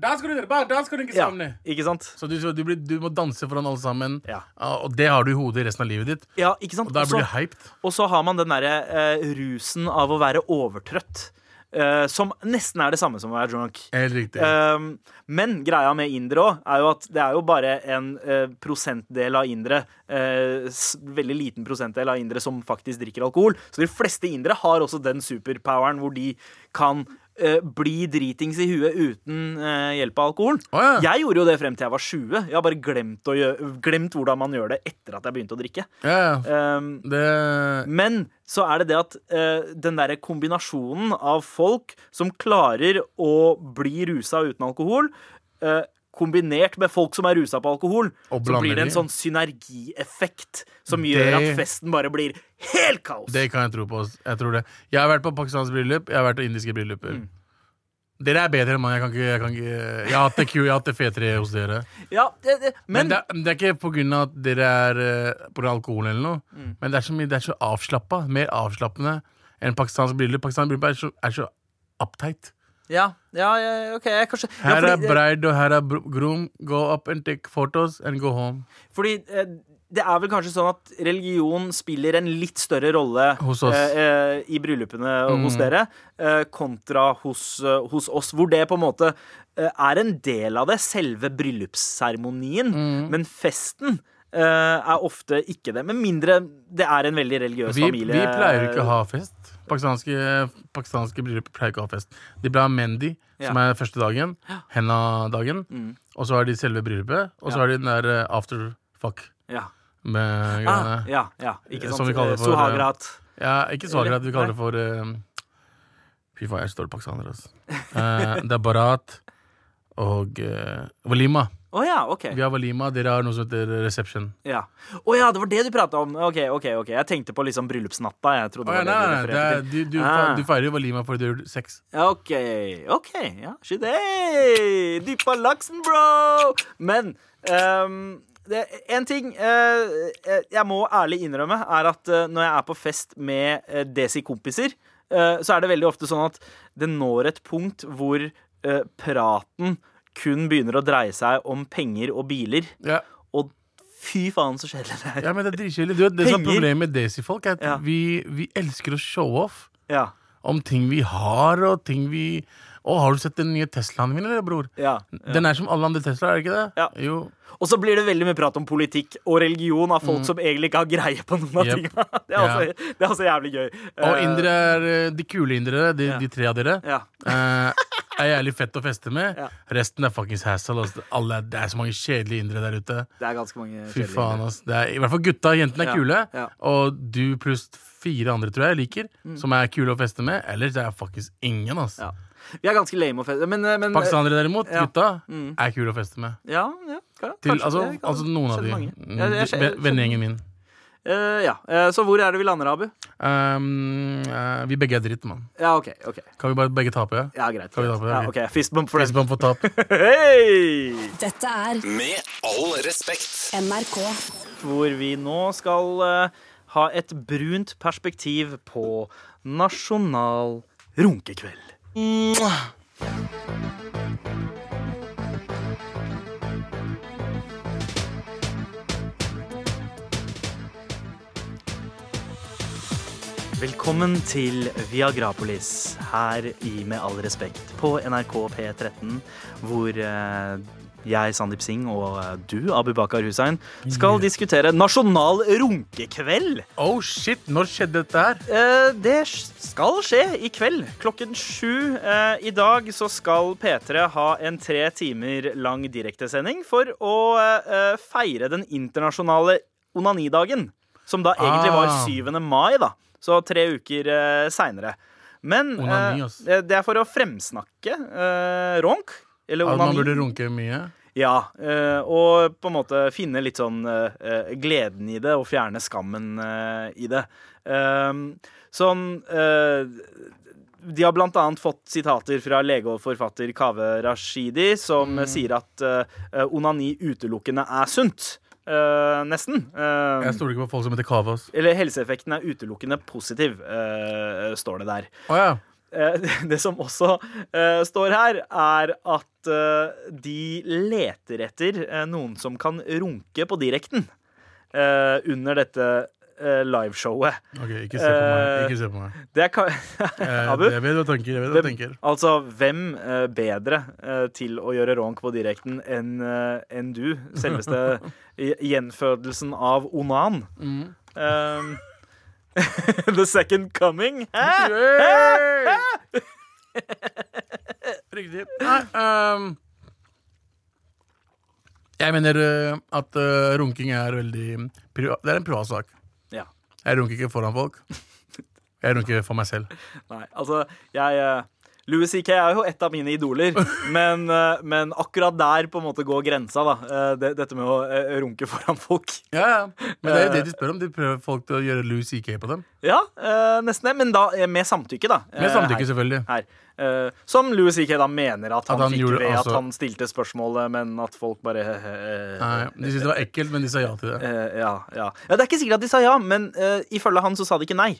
[SPEAKER 5] Da skal du gjøre bare da skal du ikke
[SPEAKER 3] Ja,
[SPEAKER 5] samle.
[SPEAKER 3] ikke sant?
[SPEAKER 5] Så du, du, blir, du må danse foran alle sammen,
[SPEAKER 3] Ja.
[SPEAKER 5] og det har du i hodet resten av livet ditt.
[SPEAKER 3] Ja, ikke sant?
[SPEAKER 5] Og da
[SPEAKER 3] Også-
[SPEAKER 5] blir du hyped.
[SPEAKER 3] Og så har man den derre eh, rusen av å være overtrøtt. eh, som nesten er det samme som å være drunk.
[SPEAKER 5] Helt riktig.
[SPEAKER 3] Um, men greia med indere òg er jo at det er jo bare en eh, prosentdel av indere, eh, s- veldig liten prosentdel av indere, som faktisk drikker alkohol. Så de fleste indere har også den superpoweren hvor de kan eh, bli dritings i huet uten eh, hjelp av alkoholen.
[SPEAKER 5] Å, ja.
[SPEAKER 3] Jeg gjorde jo det frem til jeg var 20. Jeg har bare glemt, å gjø- glemt hvordan man gjør det etter at jeg begynte å drikke.
[SPEAKER 5] ja, ja.
[SPEAKER 3] Um,
[SPEAKER 5] Det
[SPEAKER 3] men så er det det at eh, den derre kombinasjonen av folk som klarer å bli rusa uten alkohol, eh, kombinert med folk som er rusa på alkohol, så
[SPEAKER 5] Og
[SPEAKER 3] blir
[SPEAKER 5] blander
[SPEAKER 3] det en
[SPEAKER 5] de.
[SPEAKER 3] sånn synergieffekt som gjør at
[SPEAKER 5] Det-
[SPEAKER 3] festen bare blir helt kaos.
[SPEAKER 5] Det kan jeg tro på. ass. Jeg tror det Jeg har vært på pakistanske bryllup, jeg har vært på indiske brylluper.
[SPEAKER 3] Mm.
[SPEAKER 5] Dere er bedre enn meg. Jeg kan ikke Jeg, kan ikke, jeg har hatt det Q, jeg har hatt det fetere hos dere.
[SPEAKER 3] ja, det, det, men,
[SPEAKER 5] Men, det, er- det er ikke på grunn av at dere er eh, på grunn av alkohol eller noe.
[SPEAKER 3] Mm.
[SPEAKER 5] Men det er så mye Det er så avslappa. Mer avslappende enn pakistansk bryllup. Pakistansk bryllup er så, er så uptight.
[SPEAKER 3] ja, ja, ja, OK, jeg kanskje ja,
[SPEAKER 5] Her er
[SPEAKER 3] fordi-
[SPEAKER 5] bride og her er bro- groom. Go up and take photos and go home.
[SPEAKER 3] Fordi eh, det er vel kanskje sånn at religion spiller en litt større rolle
[SPEAKER 5] Hos oss. Mm.
[SPEAKER 3] eh, eh, i bryllupene hos dere, eh, kontra hos, eh, hos oss, hvor det på en måte eh, er en del av det, selve bryllupsseremonien,
[SPEAKER 5] Mm.
[SPEAKER 3] men festen eh, er ofte ikke det, med mindre det er en veldig religiøs
[SPEAKER 5] Vi, vi
[SPEAKER 3] Eh, familie.
[SPEAKER 5] pleier ikke å ha fest. Pakistanske, pakistanske bryllup pleier ikke å ha fest. De blir ha mendi,
[SPEAKER 3] Ja.
[SPEAKER 5] som
[SPEAKER 3] Mm.
[SPEAKER 5] er første dagen. Henna-dagen. Og så har de selve bryllupet,
[SPEAKER 3] Ja.
[SPEAKER 5] og så har de den der eh, after fuck.
[SPEAKER 3] Ja.
[SPEAKER 5] Med
[SPEAKER 3] Ah,
[SPEAKER 5] greiene.
[SPEAKER 3] ja, ja, ikke sant?
[SPEAKER 5] Som vi kaller det
[SPEAKER 3] Eh,
[SPEAKER 5] for, eh,
[SPEAKER 3] Sohagrat.
[SPEAKER 5] Ja, ikke svakere at vi
[SPEAKER 3] Eller-
[SPEAKER 5] kaller det for eh, Fy faen, jeg står pakistaner, altså. Eh, det er barat og eh, walima.
[SPEAKER 3] Å ja, OK.
[SPEAKER 5] Vi har walima, dere har noe som heter reception.
[SPEAKER 3] Ja. Å ja, det var det du prata om. OK, OK. ok Jeg tenkte på liksom bryllupsnatta. Jeg trodde
[SPEAKER 5] Å ja,
[SPEAKER 3] det
[SPEAKER 5] nei,
[SPEAKER 3] var
[SPEAKER 5] nei,
[SPEAKER 3] det du
[SPEAKER 5] nei, det er,
[SPEAKER 3] refererte
[SPEAKER 5] du,
[SPEAKER 3] til.
[SPEAKER 5] du,
[SPEAKER 3] Ah.
[SPEAKER 5] fe- du feirer jo walima fordi du gjør sex.
[SPEAKER 3] Ja, OK. ok, ja, Shit, hey, Dyppa laksen, bro! Men ehm, det, en ting eh, eh, jeg må ærlig innrømme, er at eh, når jeg er på fest med eh, Desi-kompiser, eh, så er det veldig ofte sånn at det når et punkt hvor eh, praten kun begynner å dreie seg om penger og biler.
[SPEAKER 5] Ja,
[SPEAKER 3] Og fy faen, så kjedelig det er.
[SPEAKER 5] ja men det er dritkjedelig. Du vet, Det som er
[SPEAKER 3] Penger.
[SPEAKER 5] problemet med Daisy-folk, er at
[SPEAKER 3] Ja.
[SPEAKER 5] vi, vi elsker å show off
[SPEAKER 3] Ja.
[SPEAKER 5] om ting vi har, og ting vi Å, har du sett den nye Teslaen min, eller, bror?
[SPEAKER 3] Ja,
[SPEAKER 5] Den er som alle andre Teslaer, er det ikke det?
[SPEAKER 3] Ja.
[SPEAKER 5] Jo.
[SPEAKER 3] Og så blir det veldig mye prat om politikk og religion av folk som egentlig ikke har greie på noen av
[SPEAKER 5] Mm. Jep.
[SPEAKER 3] tingene. Det er,
[SPEAKER 5] Ja.
[SPEAKER 3] også, det er også jævlig gøy.
[SPEAKER 5] Og
[SPEAKER 3] Eh,
[SPEAKER 5] indre er, eh, de kule indere, de,
[SPEAKER 3] Ja.
[SPEAKER 5] de tre av dere,
[SPEAKER 3] Ja.
[SPEAKER 5] eh, er jævlig fett å feste med.
[SPEAKER 3] Ja.
[SPEAKER 5] Resten er fuckings hassle. ass. Alle, er- det er så mange kjedelige indere der ute.
[SPEAKER 3] Det er ganske mange
[SPEAKER 5] Fy
[SPEAKER 3] kjedelige
[SPEAKER 5] faen,
[SPEAKER 3] indre.
[SPEAKER 5] ass. Det er, I hvert fall gutta. Jentene er
[SPEAKER 3] Ja,
[SPEAKER 5] kule.
[SPEAKER 3] ja. Mm.
[SPEAKER 5] Og du pluss fire andre, tror jeg, liker, som er kule å feste med. Ellers er det fuckings ingen, ass.
[SPEAKER 3] Ja. Vi er ganske lame og fete, men, eh, men
[SPEAKER 5] Pakistanere derimot,
[SPEAKER 3] Ja.
[SPEAKER 5] gutta, er kule å feste med.
[SPEAKER 3] Ja, ja ka-
[SPEAKER 5] Til,
[SPEAKER 3] kanskje
[SPEAKER 5] altså,
[SPEAKER 3] det kan-
[SPEAKER 5] altså noen av
[SPEAKER 3] skjønner
[SPEAKER 5] de.
[SPEAKER 3] mange.
[SPEAKER 5] Mm,
[SPEAKER 3] Ja, jeg
[SPEAKER 5] de-
[SPEAKER 3] skjønner-
[SPEAKER 5] ven- Vennegjengen min.
[SPEAKER 3] Eh, ja. Eh, Så hvor er det vi lander, Abu?
[SPEAKER 5] Um, eh, vi begge er dritt, mann.
[SPEAKER 3] Ja, OK. ok
[SPEAKER 5] Kan vi bare begge tape? Ja?
[SPEAKER 3] Ja, greit.
[SPEAKER 5] Skal vi ta på det?
[SPEAKER 3] Ja, ok, Fist bump for
[SPEAKER 5] Hvis
[SPEAKER 3] den.
[SPEAKER 5] man får tap.
[SPEAKER 3] Hei!
[SPEAKER 6] Dette er
[SPEAKER 1] Med all respekt.
[SPEAKER 6] NRK.
[SPEAKER 3] hvor vi nå skal eh, ha et brunt perspektiv på nasjonal runkekveld. Velkommen til Viagrapolis her i Med all respekt på NRK P13, hvor eh, jeg, Sandeep Singh, og eh, du, Abu Bakar Hussein, skal diskutere nasjonal runkekveld.
[SPEAKER 5] Oh shit, når skjedde dette her?
[SPEAKER 3] Eh, det skal skje i kveld klokken sju. Eh, I dag så skal P3 ha en tre timer lang direktesending for å eh, eh, feire den internasjonale onanidagen. Som da egentlig var
[SPEAKER 5] Ah.
[SPEAKER 3] 7. mai, da. Så tre uker eh, seinere. Men eh,
[SPEAKER 5] Onani, ass.
[SPEAKER 3] det er for å fremsnakke eh, ronk. Eller
[SPEAKER 5] At man
[SPEAKER 3] onani.
[SPEAKER 5] burde runke mye.
[SPEAKER 3] Ja, eh, og på en måte finne litt sånn eh, eh, gleden i det, og fjerne skammen eh, i det. Ehm, sånn eh, De har blant annet fått sitater fra lege og forfatter Kaveh Rashidi, som eh, sier at eh, onani utelukkende er sunt. Eh, nesten. Ehm,
[SPEAKER 5] Jeg stoler ikke på folk som heter Kava. ass.
[SPEAKER 3] eller helseeffekten er utelukkende positiv, eh, står det der.
[SPEAKER 5] Å ja.
[SPEAKER 3] Eh, det som også eh, står her, er at eh, de leter etter eh, noen som kan runke på direkten eh, under dette eh, liveshowet.
[SPEAKER 5] Ok, ikke se på meg. Ikke se på meg.
[SPEAKER 3] Det er ka
[SPEAKER 5] Eh,
[SPEAKER 3] Abu?
[SPEAKER 5] Jeg vet hva du tenker. Jeg vet hva du tenker.
[SPEAKER 3] Altså, hvem eh, bedre eh, til å gjøre ronk på direkten enn eh, enn du? Selveste i- gjenfødelsen av onan.
[SPEAKER 5] Mm.
[SPEAKER 3] Um, the second coming. Hæ?
[SPEAKER 5] Riktig. Nei, ehm, jeg mener eh, at eh, runking er veldig priva Det er en privatsak.
[SPEAKER 3] Ja.
[SPEAKER 5] Jeg runker ikke foran folk. Jeg runker for meg selv.
[SPEAKER 3] Nei, altså, jeg eh, Louis C.K. er jo et av mine idoler, men, eh, men akkurat der på en måte går grensa, da. Eh, det, dette med å eh, runke foran folk.
[SPEAKER 5] Ja, ja. Men det er jo
[SPEAKER 3] Eh,
[SPEAKER 5] det de spør om. De prøver folk til å gjøre Louis CK på dem.
[SPEAKER 3] Ja, eh, nesten det, men da eh, med samtykke, da. Eh,
[SPEAKER 5] Med samtykke,
[SPEAKER 3] her.
[SPEAKER 5] selvfølgelig.
[SPEAKER 3] Her. Eh, som Louis C.K. da mener at han,
[SPEAKER 5] han
[SPEAKER 3] fikk
[SPEAKER 5] gjorde
[SPEAKER 3] ved
[SPEAKER 5] altså-
[SPEAKER 3] at han stilte spørsmålet, men at folk bare eh, eh,
[SPEAKER 5] Nei, De syntes det var ekkelt, men de sa ja til det.
[SPEAKER 3] eh, ja, ja. ja, Det er ikke sikkert at de sa ja, men eh, ifølge han så sa de ikke nei.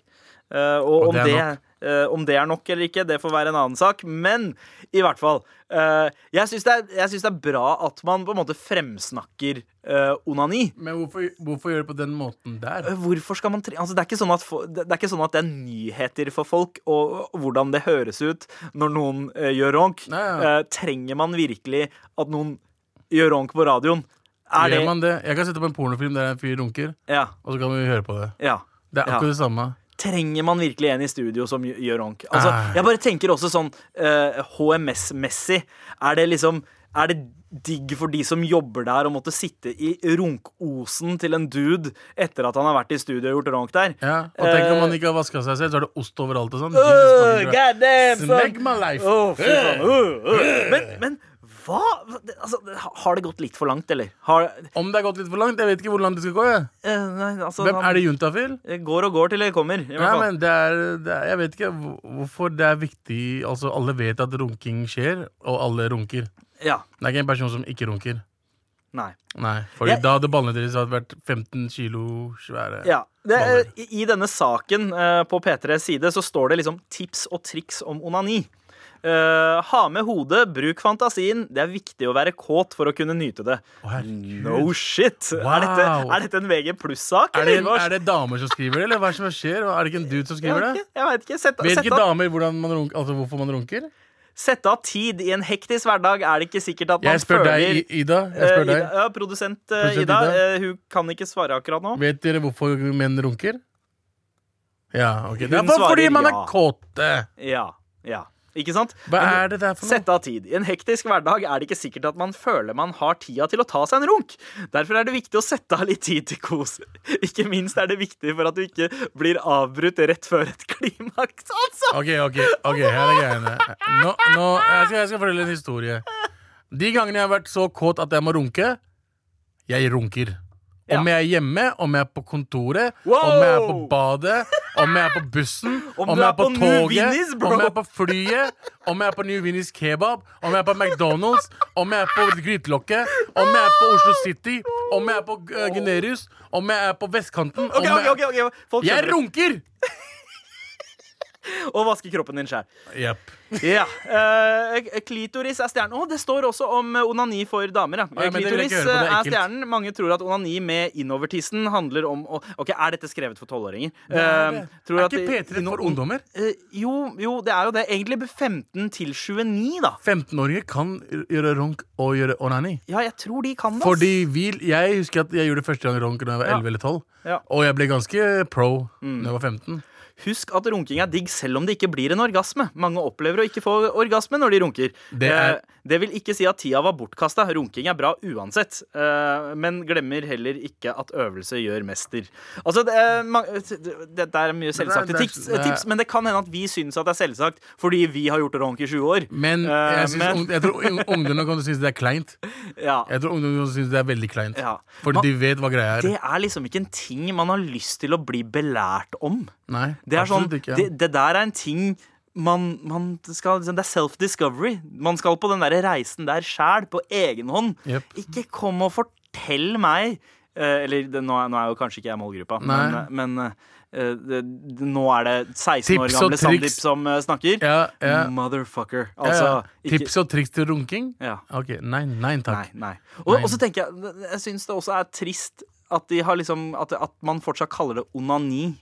[SPEAKER 3] Eh, og
[SPEAKER 5] Og
[SPEAKER 3] om
[SPEAKER 5] det er
[SPEAKER 3] det,
[SPEAKER 5] nok.
[SPEAKER 3] eh, om det er nok eller ikke, det får være en annen sak. Men i hvert fall. eh, jeg syns det, er- jeg syns det er bra at man på en måte fremsnakker eh, onani.
[SPEAKER 5] Men hvorfor, hvorfor gjøre det på den måten der?
[SPEAKER 3] Eh, Hvorfor skal man tre... Altså, det, er ikke sånn at fo- det det er ikke sånn at det er nyheter for folk, og og hvordan det høres ut når noen eh, gjør ronk.
[SPEAKER 5] Nei, ja.
[SPEAKER 3] Eh, trenger man virkelig at noen gjør ronk på radioen? Er det
[SPEAKER 5] Gjør man det? Jeg kan sette på en pornofilm der en fyr runker,
[SPEAKER 3] Ja.
[SPEAKER 5] og så kan vi høre på det.
[SPEAKER 3] ja.
[SPEAKER 5] Det er
[SPEAKER 3] Ja.
[SPEAKER 5] akkurat det samme.
[SPEAKER 3] Trenger man virkelig en i studio som gj- gjør ronk? Altså,
[SPEAKER 5] Nei.
[SPEAKER 3] jeg bare tenker også sånn eh, HMS-messig. Er det liksom Er det digg for de som jobber der, å måtte sitte i runkosen til en dude etter at han har vært i studio og gjort ronk der?
[SPEAKER 5] Ja. Og tenk om
[SPEAKER 3] Eh,
[SPEAKER 5] man ikke har vaska seg selv, så er det ost overalt og sånn.
[SPEAKER 3] Oh,
[SPEAKER 5] Jesus, man-
[SPEAKER 3] God damn, son.
[SPEAKER 5] Snake my life. Eh.
[SPEAKER 3] Åh, fy faen. Åh, åh. Men, men hva det- altså, Har det gått litt for langt, eller? Har,
[SPEAKER 5] Om det har gått litt for langt, jeg vet ikke hvor langt det skal gå. Jeg.
[SPEAKER 3] eh, nei, altså,
[SPEAKER 5] Hvem
[SPEAKER 3] han
[SPEAKER 5] er det juntafil?
[SPEAKER 3] Går og går til det kommer. I
[SPEAKER 5] Ja,
[SPEAKER 3] hvert fall.
[SPEAKER 5] men det er, det er, jeg vet ikke hvor- hvorfor det er viktig Altså, alle vet at runking skjer, og alle runker.
[SPEAKER 3] Ja,
[SPEAKER 5] Det er ikke en person som ikke runker.
[SPEAKER 3] nei.
[SPEAKER 5] Nei, fordi
[SPEAKER 3] Jeg-
[SPEAKER 5] da hadde ballene deres hadde vært 15 kilo svære.
[SPEAKER 3] Ja. Det,
[SPEAKER 5] Baller.
[SPEAKER 3] eh, i, I denne saken eh, på P3s side så står det liksom tips og triks om onani. Eh, ha med hodet, bruk fantasien. Det er viktig å være kåt for å kunne nyte det.
[SPEAKER 5] Å, herregud.
[SPEAKER 3] No shit! Er, dette,
[SPEAKER 5] Wow.
[SPEAKER 3] er dette en VG pluss-sak?
[SPEAKER 5] er, det,
[SPEAKER 3] eller?
[SPEAKER 5] er det damer som skriver det, eller hva er det som skjer? Er det ikke en dude som
[SPEAKER 3] Jeg
[SPEAKER 5] skriver
[SPEAKER 3] vet
[SPEAKER 5] det?
[SPEAKER 3] ikke. Jeg vet ikke. Sett,
[SPEAKER 5] Vet
[SPEAKER 3] sett
[SPEAKER 5] ikke
[SPEAKER 3] av-
[SPEAKER 5] damer hvordan man runker, altså hvorfor man runker?
[SPEAKER 3] Sette av tid i en hektisk hverdag er det ikke sikkert at man
[SPEAKER 5] Jeg spør
[SPEAKER 3] føler
[SPEAKER 5] deg, I- Ida. Jeg
[SPEAKER 3] Eh,
[SPEAKER 5] spør deg.
[SPEAKER 3] Ida, ja, produsent, eh,
[SPEAKER 5] Produsent
[SPEAKER 3] Ida,
[SPEAKER 5] Ida.
[SPEAKER 3] eh, hun kan ikke svare akkurat nå.
[SPEAKER 5] Vet dere hvorfor menn runker? Ja, ok. Det
[SPEAKER 3] Hun
[SPEAKER 5] er bare fordi
[SPEAKER 3] svarer
[SPEAKER 5] man er
[SPEAKER 3] ja.
[SPEAKER 5] kåte.
[SPEAKER 3] Ja, ja. Ikke sant?
[SPEAKER 5] Hva
[SPEAKER 3] Men-
[SPEAKER 5] er det der for noe?
[SPEAKER 3] Sette av tid. I en hektisk hverdag er det ikke sikkert at man føler man har tida til å ta seg en runk. Derfor er det viktig å sette av litt tid til kos. Ikke minst er det viktig for at du ikke blir avbrutt rett før et klimaks, altså!
[SPEAKER 5] Ok, ok, ok, her er greiene. Nå, nå, jeg, skal, jeg skal fortelle en historie. De gangene jeg har vært så kåt at jeg må runke, jeg runker. Om
[SPEAKER 3] Ja.
[SPEAKER 5] jeg er hjemme, om jeg er på kontoret, om
[SPEAKER 3] Wow!
[SPEAKER 5] jeg er på badet, om jeg er på bussen,
[SPEAKER 3] Om
[SPEAKER 5] om,
[SPEAKER 3] du er
[SPEAKER 5] jeg er på,
[SPEAKER 3] på New
[SPEAKER 5] toget,
[SPEAKER 3] Vinnies, bro.
[SPEAKER 5] om jeg er på flyet, om jeg er på New Vinnies kebab, om jeg er på McDonald's, om jeg er på Grytelokket, om jeg er på Oslo City, om jeg er på uh, Gunerius, om jeg er på vestkanten om
[SPEAKER 3] Ok, ok,
[SPEAKER 5] jeg-
[SPEAKER 3] ok, ok. Folk
[SPEAKER 5] Jeg
[SPEAKER 3] skjønner det.
[SPEAKER 5] runker!
[SPEAKER 3] Og vasker kroppen din sjæl.
[SPEAKER 5] Jepp.
[SPEAKER 3] Ja. eh, klitoris er stjernen. Å, det står også om eh, onani for damer. Ja.
[SPEAKER 5] Å, ja, men det vil jeg
[SPEAKER 3] klitoris
[SPEAKER 5] ikke
[SPEAKER 3] eh,
[SPEAKER 5] høre på, det er
[SPEAKER 3] er
[SPEAKER 5] ekkelt.
[SPEAKER 3] stjernen. Mange tror at onani med innovertissen handler om å Ok, er dette skrevet for tolvåringer?
[SPEAKER 5] er
[SPEAKER 3] Eh,
[SPEAKER 5] det.
[SPEAKER 3] tror
[SPEAKER 5] Er
[SPEAKER 3] at
[SPEAKER 5] ikke
[SPEAKER 3] det-
[SPEAKER 5] P3
[SPEAKER 3] inno-
[SPEAKER 5] for ungdommer?
[SPEAKER 3] Eh, jo, jo, det er jo det. Egentlig 15 til 29, da.
[SPEAKER 5] 15-åringer kan gjøre ronk og gjøre onani.
[SPEAKER 3] Ja, jeg tror de kan det. ass.
[SPEAKER 5] Fordi vi, Jeg husker at jeg gjorde første gang ronk da jeg var 11 eller 12.
[SPEAKER 3] Ja. Mm.
[SPEAKER 5] Og jeg ble ganske pro da jeg var 15.
[SPEAKER 3] Husk at runking er digg selv om det ikke blir en orgasme. Mange opplever å ikke få orgasme når de runker.
[SPEAKER 5] Det er-
[SPEAKER 3] Eh, det vil ikke si at tida var bortkasta. Runking er bra uansett. Eh, men glemmer heller ikke at øvelse gjør mester. Altså, det, er ma- det, det er mye selvsagte
[SPEAKER 5] det er-
[SPEAKER 3] tips, eh, tips, men det kan hende at vi syns at det er selvsagt fordi vi har gjort runk i 20 år.
[SPEAKER 5] Men
[SPEAKER 3] Eh,
[SPEAKER 5] jeg, synes,
[SPEAKER 3] men-
[SPEAKER 5] ung- jeg tror ung- ungdommen kommer til å synes det er kleint.
[SPEAKER 3] Ja.
[SPEAKER 5] Jeg tror ungdommen kommer til å synes det er veldig kleint
[SPEAKER 3] Ja.
[SPEAKER 5] Fordi
[SPEAKER 3] Man-
[SPEAKER 5] de vet hva greia er.
[SPEAKER 3] Det er liksom ikke en ting man har lyst til å bli belært om.
[SPEAKER 5] Nei,
[SPEAKER 3] Det er sånn,
[SPEAKER 5] absolutt ikke.
[SPEAKER 3] det, det der er en ting man, man skal, liksom, Det er self-discovery. Man skal på den der reisen der sjæl, på egen hånd.
[SPEAKER 5] Jep.
[SPEAKER 3] Ikke kom og fortell meg eh, Eller det, nå, er- nå er jo kanskje ikke jeg målgruppa, men,
[SPEAKER 5] Nei.
[SPEAKER 3] men eh, det, det, nå er det 16 år
[SPEAKER 5] Tips og
[SPEAKER 3] gamle Sandeep
[SPEAKER 5] triks.
[SPEAKER 3] som eh, snakker.
[SPEAKER 5] ja, ja,
[SPEAKER 3] Motherfucker.
[SPEAKER 5] ja,
[SPEAKER 3] Altså,
[SPEAKER 5] ja. Tips og triks til runking?
[SPEAKER 3] Ja.
[SPEAKER 5] Ok, Nei, nei takk.
[SPEAKER 3] Nei, nei. Og, og så tenker jeg Jeg syns det også er trist at, de har liksom, at, at man fortsatt kaller det onani.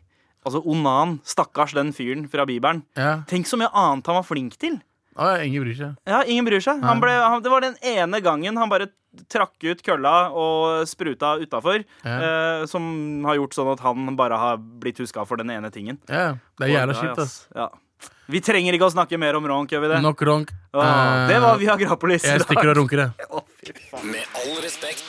[SPEAKER 3] Altså onan. Stakkars den fyren fra Bibelen.
[SPEAKER 5] Ja.
[SPEAKER 3] Tenk så mye annet han var flink til.
[SPEAKER 5] Å, ja, ingen bryr seg.
[SPEAKER 3] Ja, Ingen bryr seg. Han ble, han, det var den ene gangen han bare trakk ut kølla og spruta utafor, eh, som har gjort sånn at han bare har blitt huska for den ene tingen.
[SPEAKER 5] Ja, det er jævla kjipt, ass.
[SPEAKER 3] Ja. Vi trenger ikke å snakke mer om ronk, gjør vi det?
[SPEAKER 5] Nok ronk.
[SPEAKER 3] Åh,
[SPEAKER 5] Eh,
[SPEAKER 3] det var Viagrapolis. i
[SPEAKER 5] Jeg
[SPEAKER 3] dag.
[SPEAKER 5] stikker og runker, jeg.
[SPEAKER 1] Med all respekt.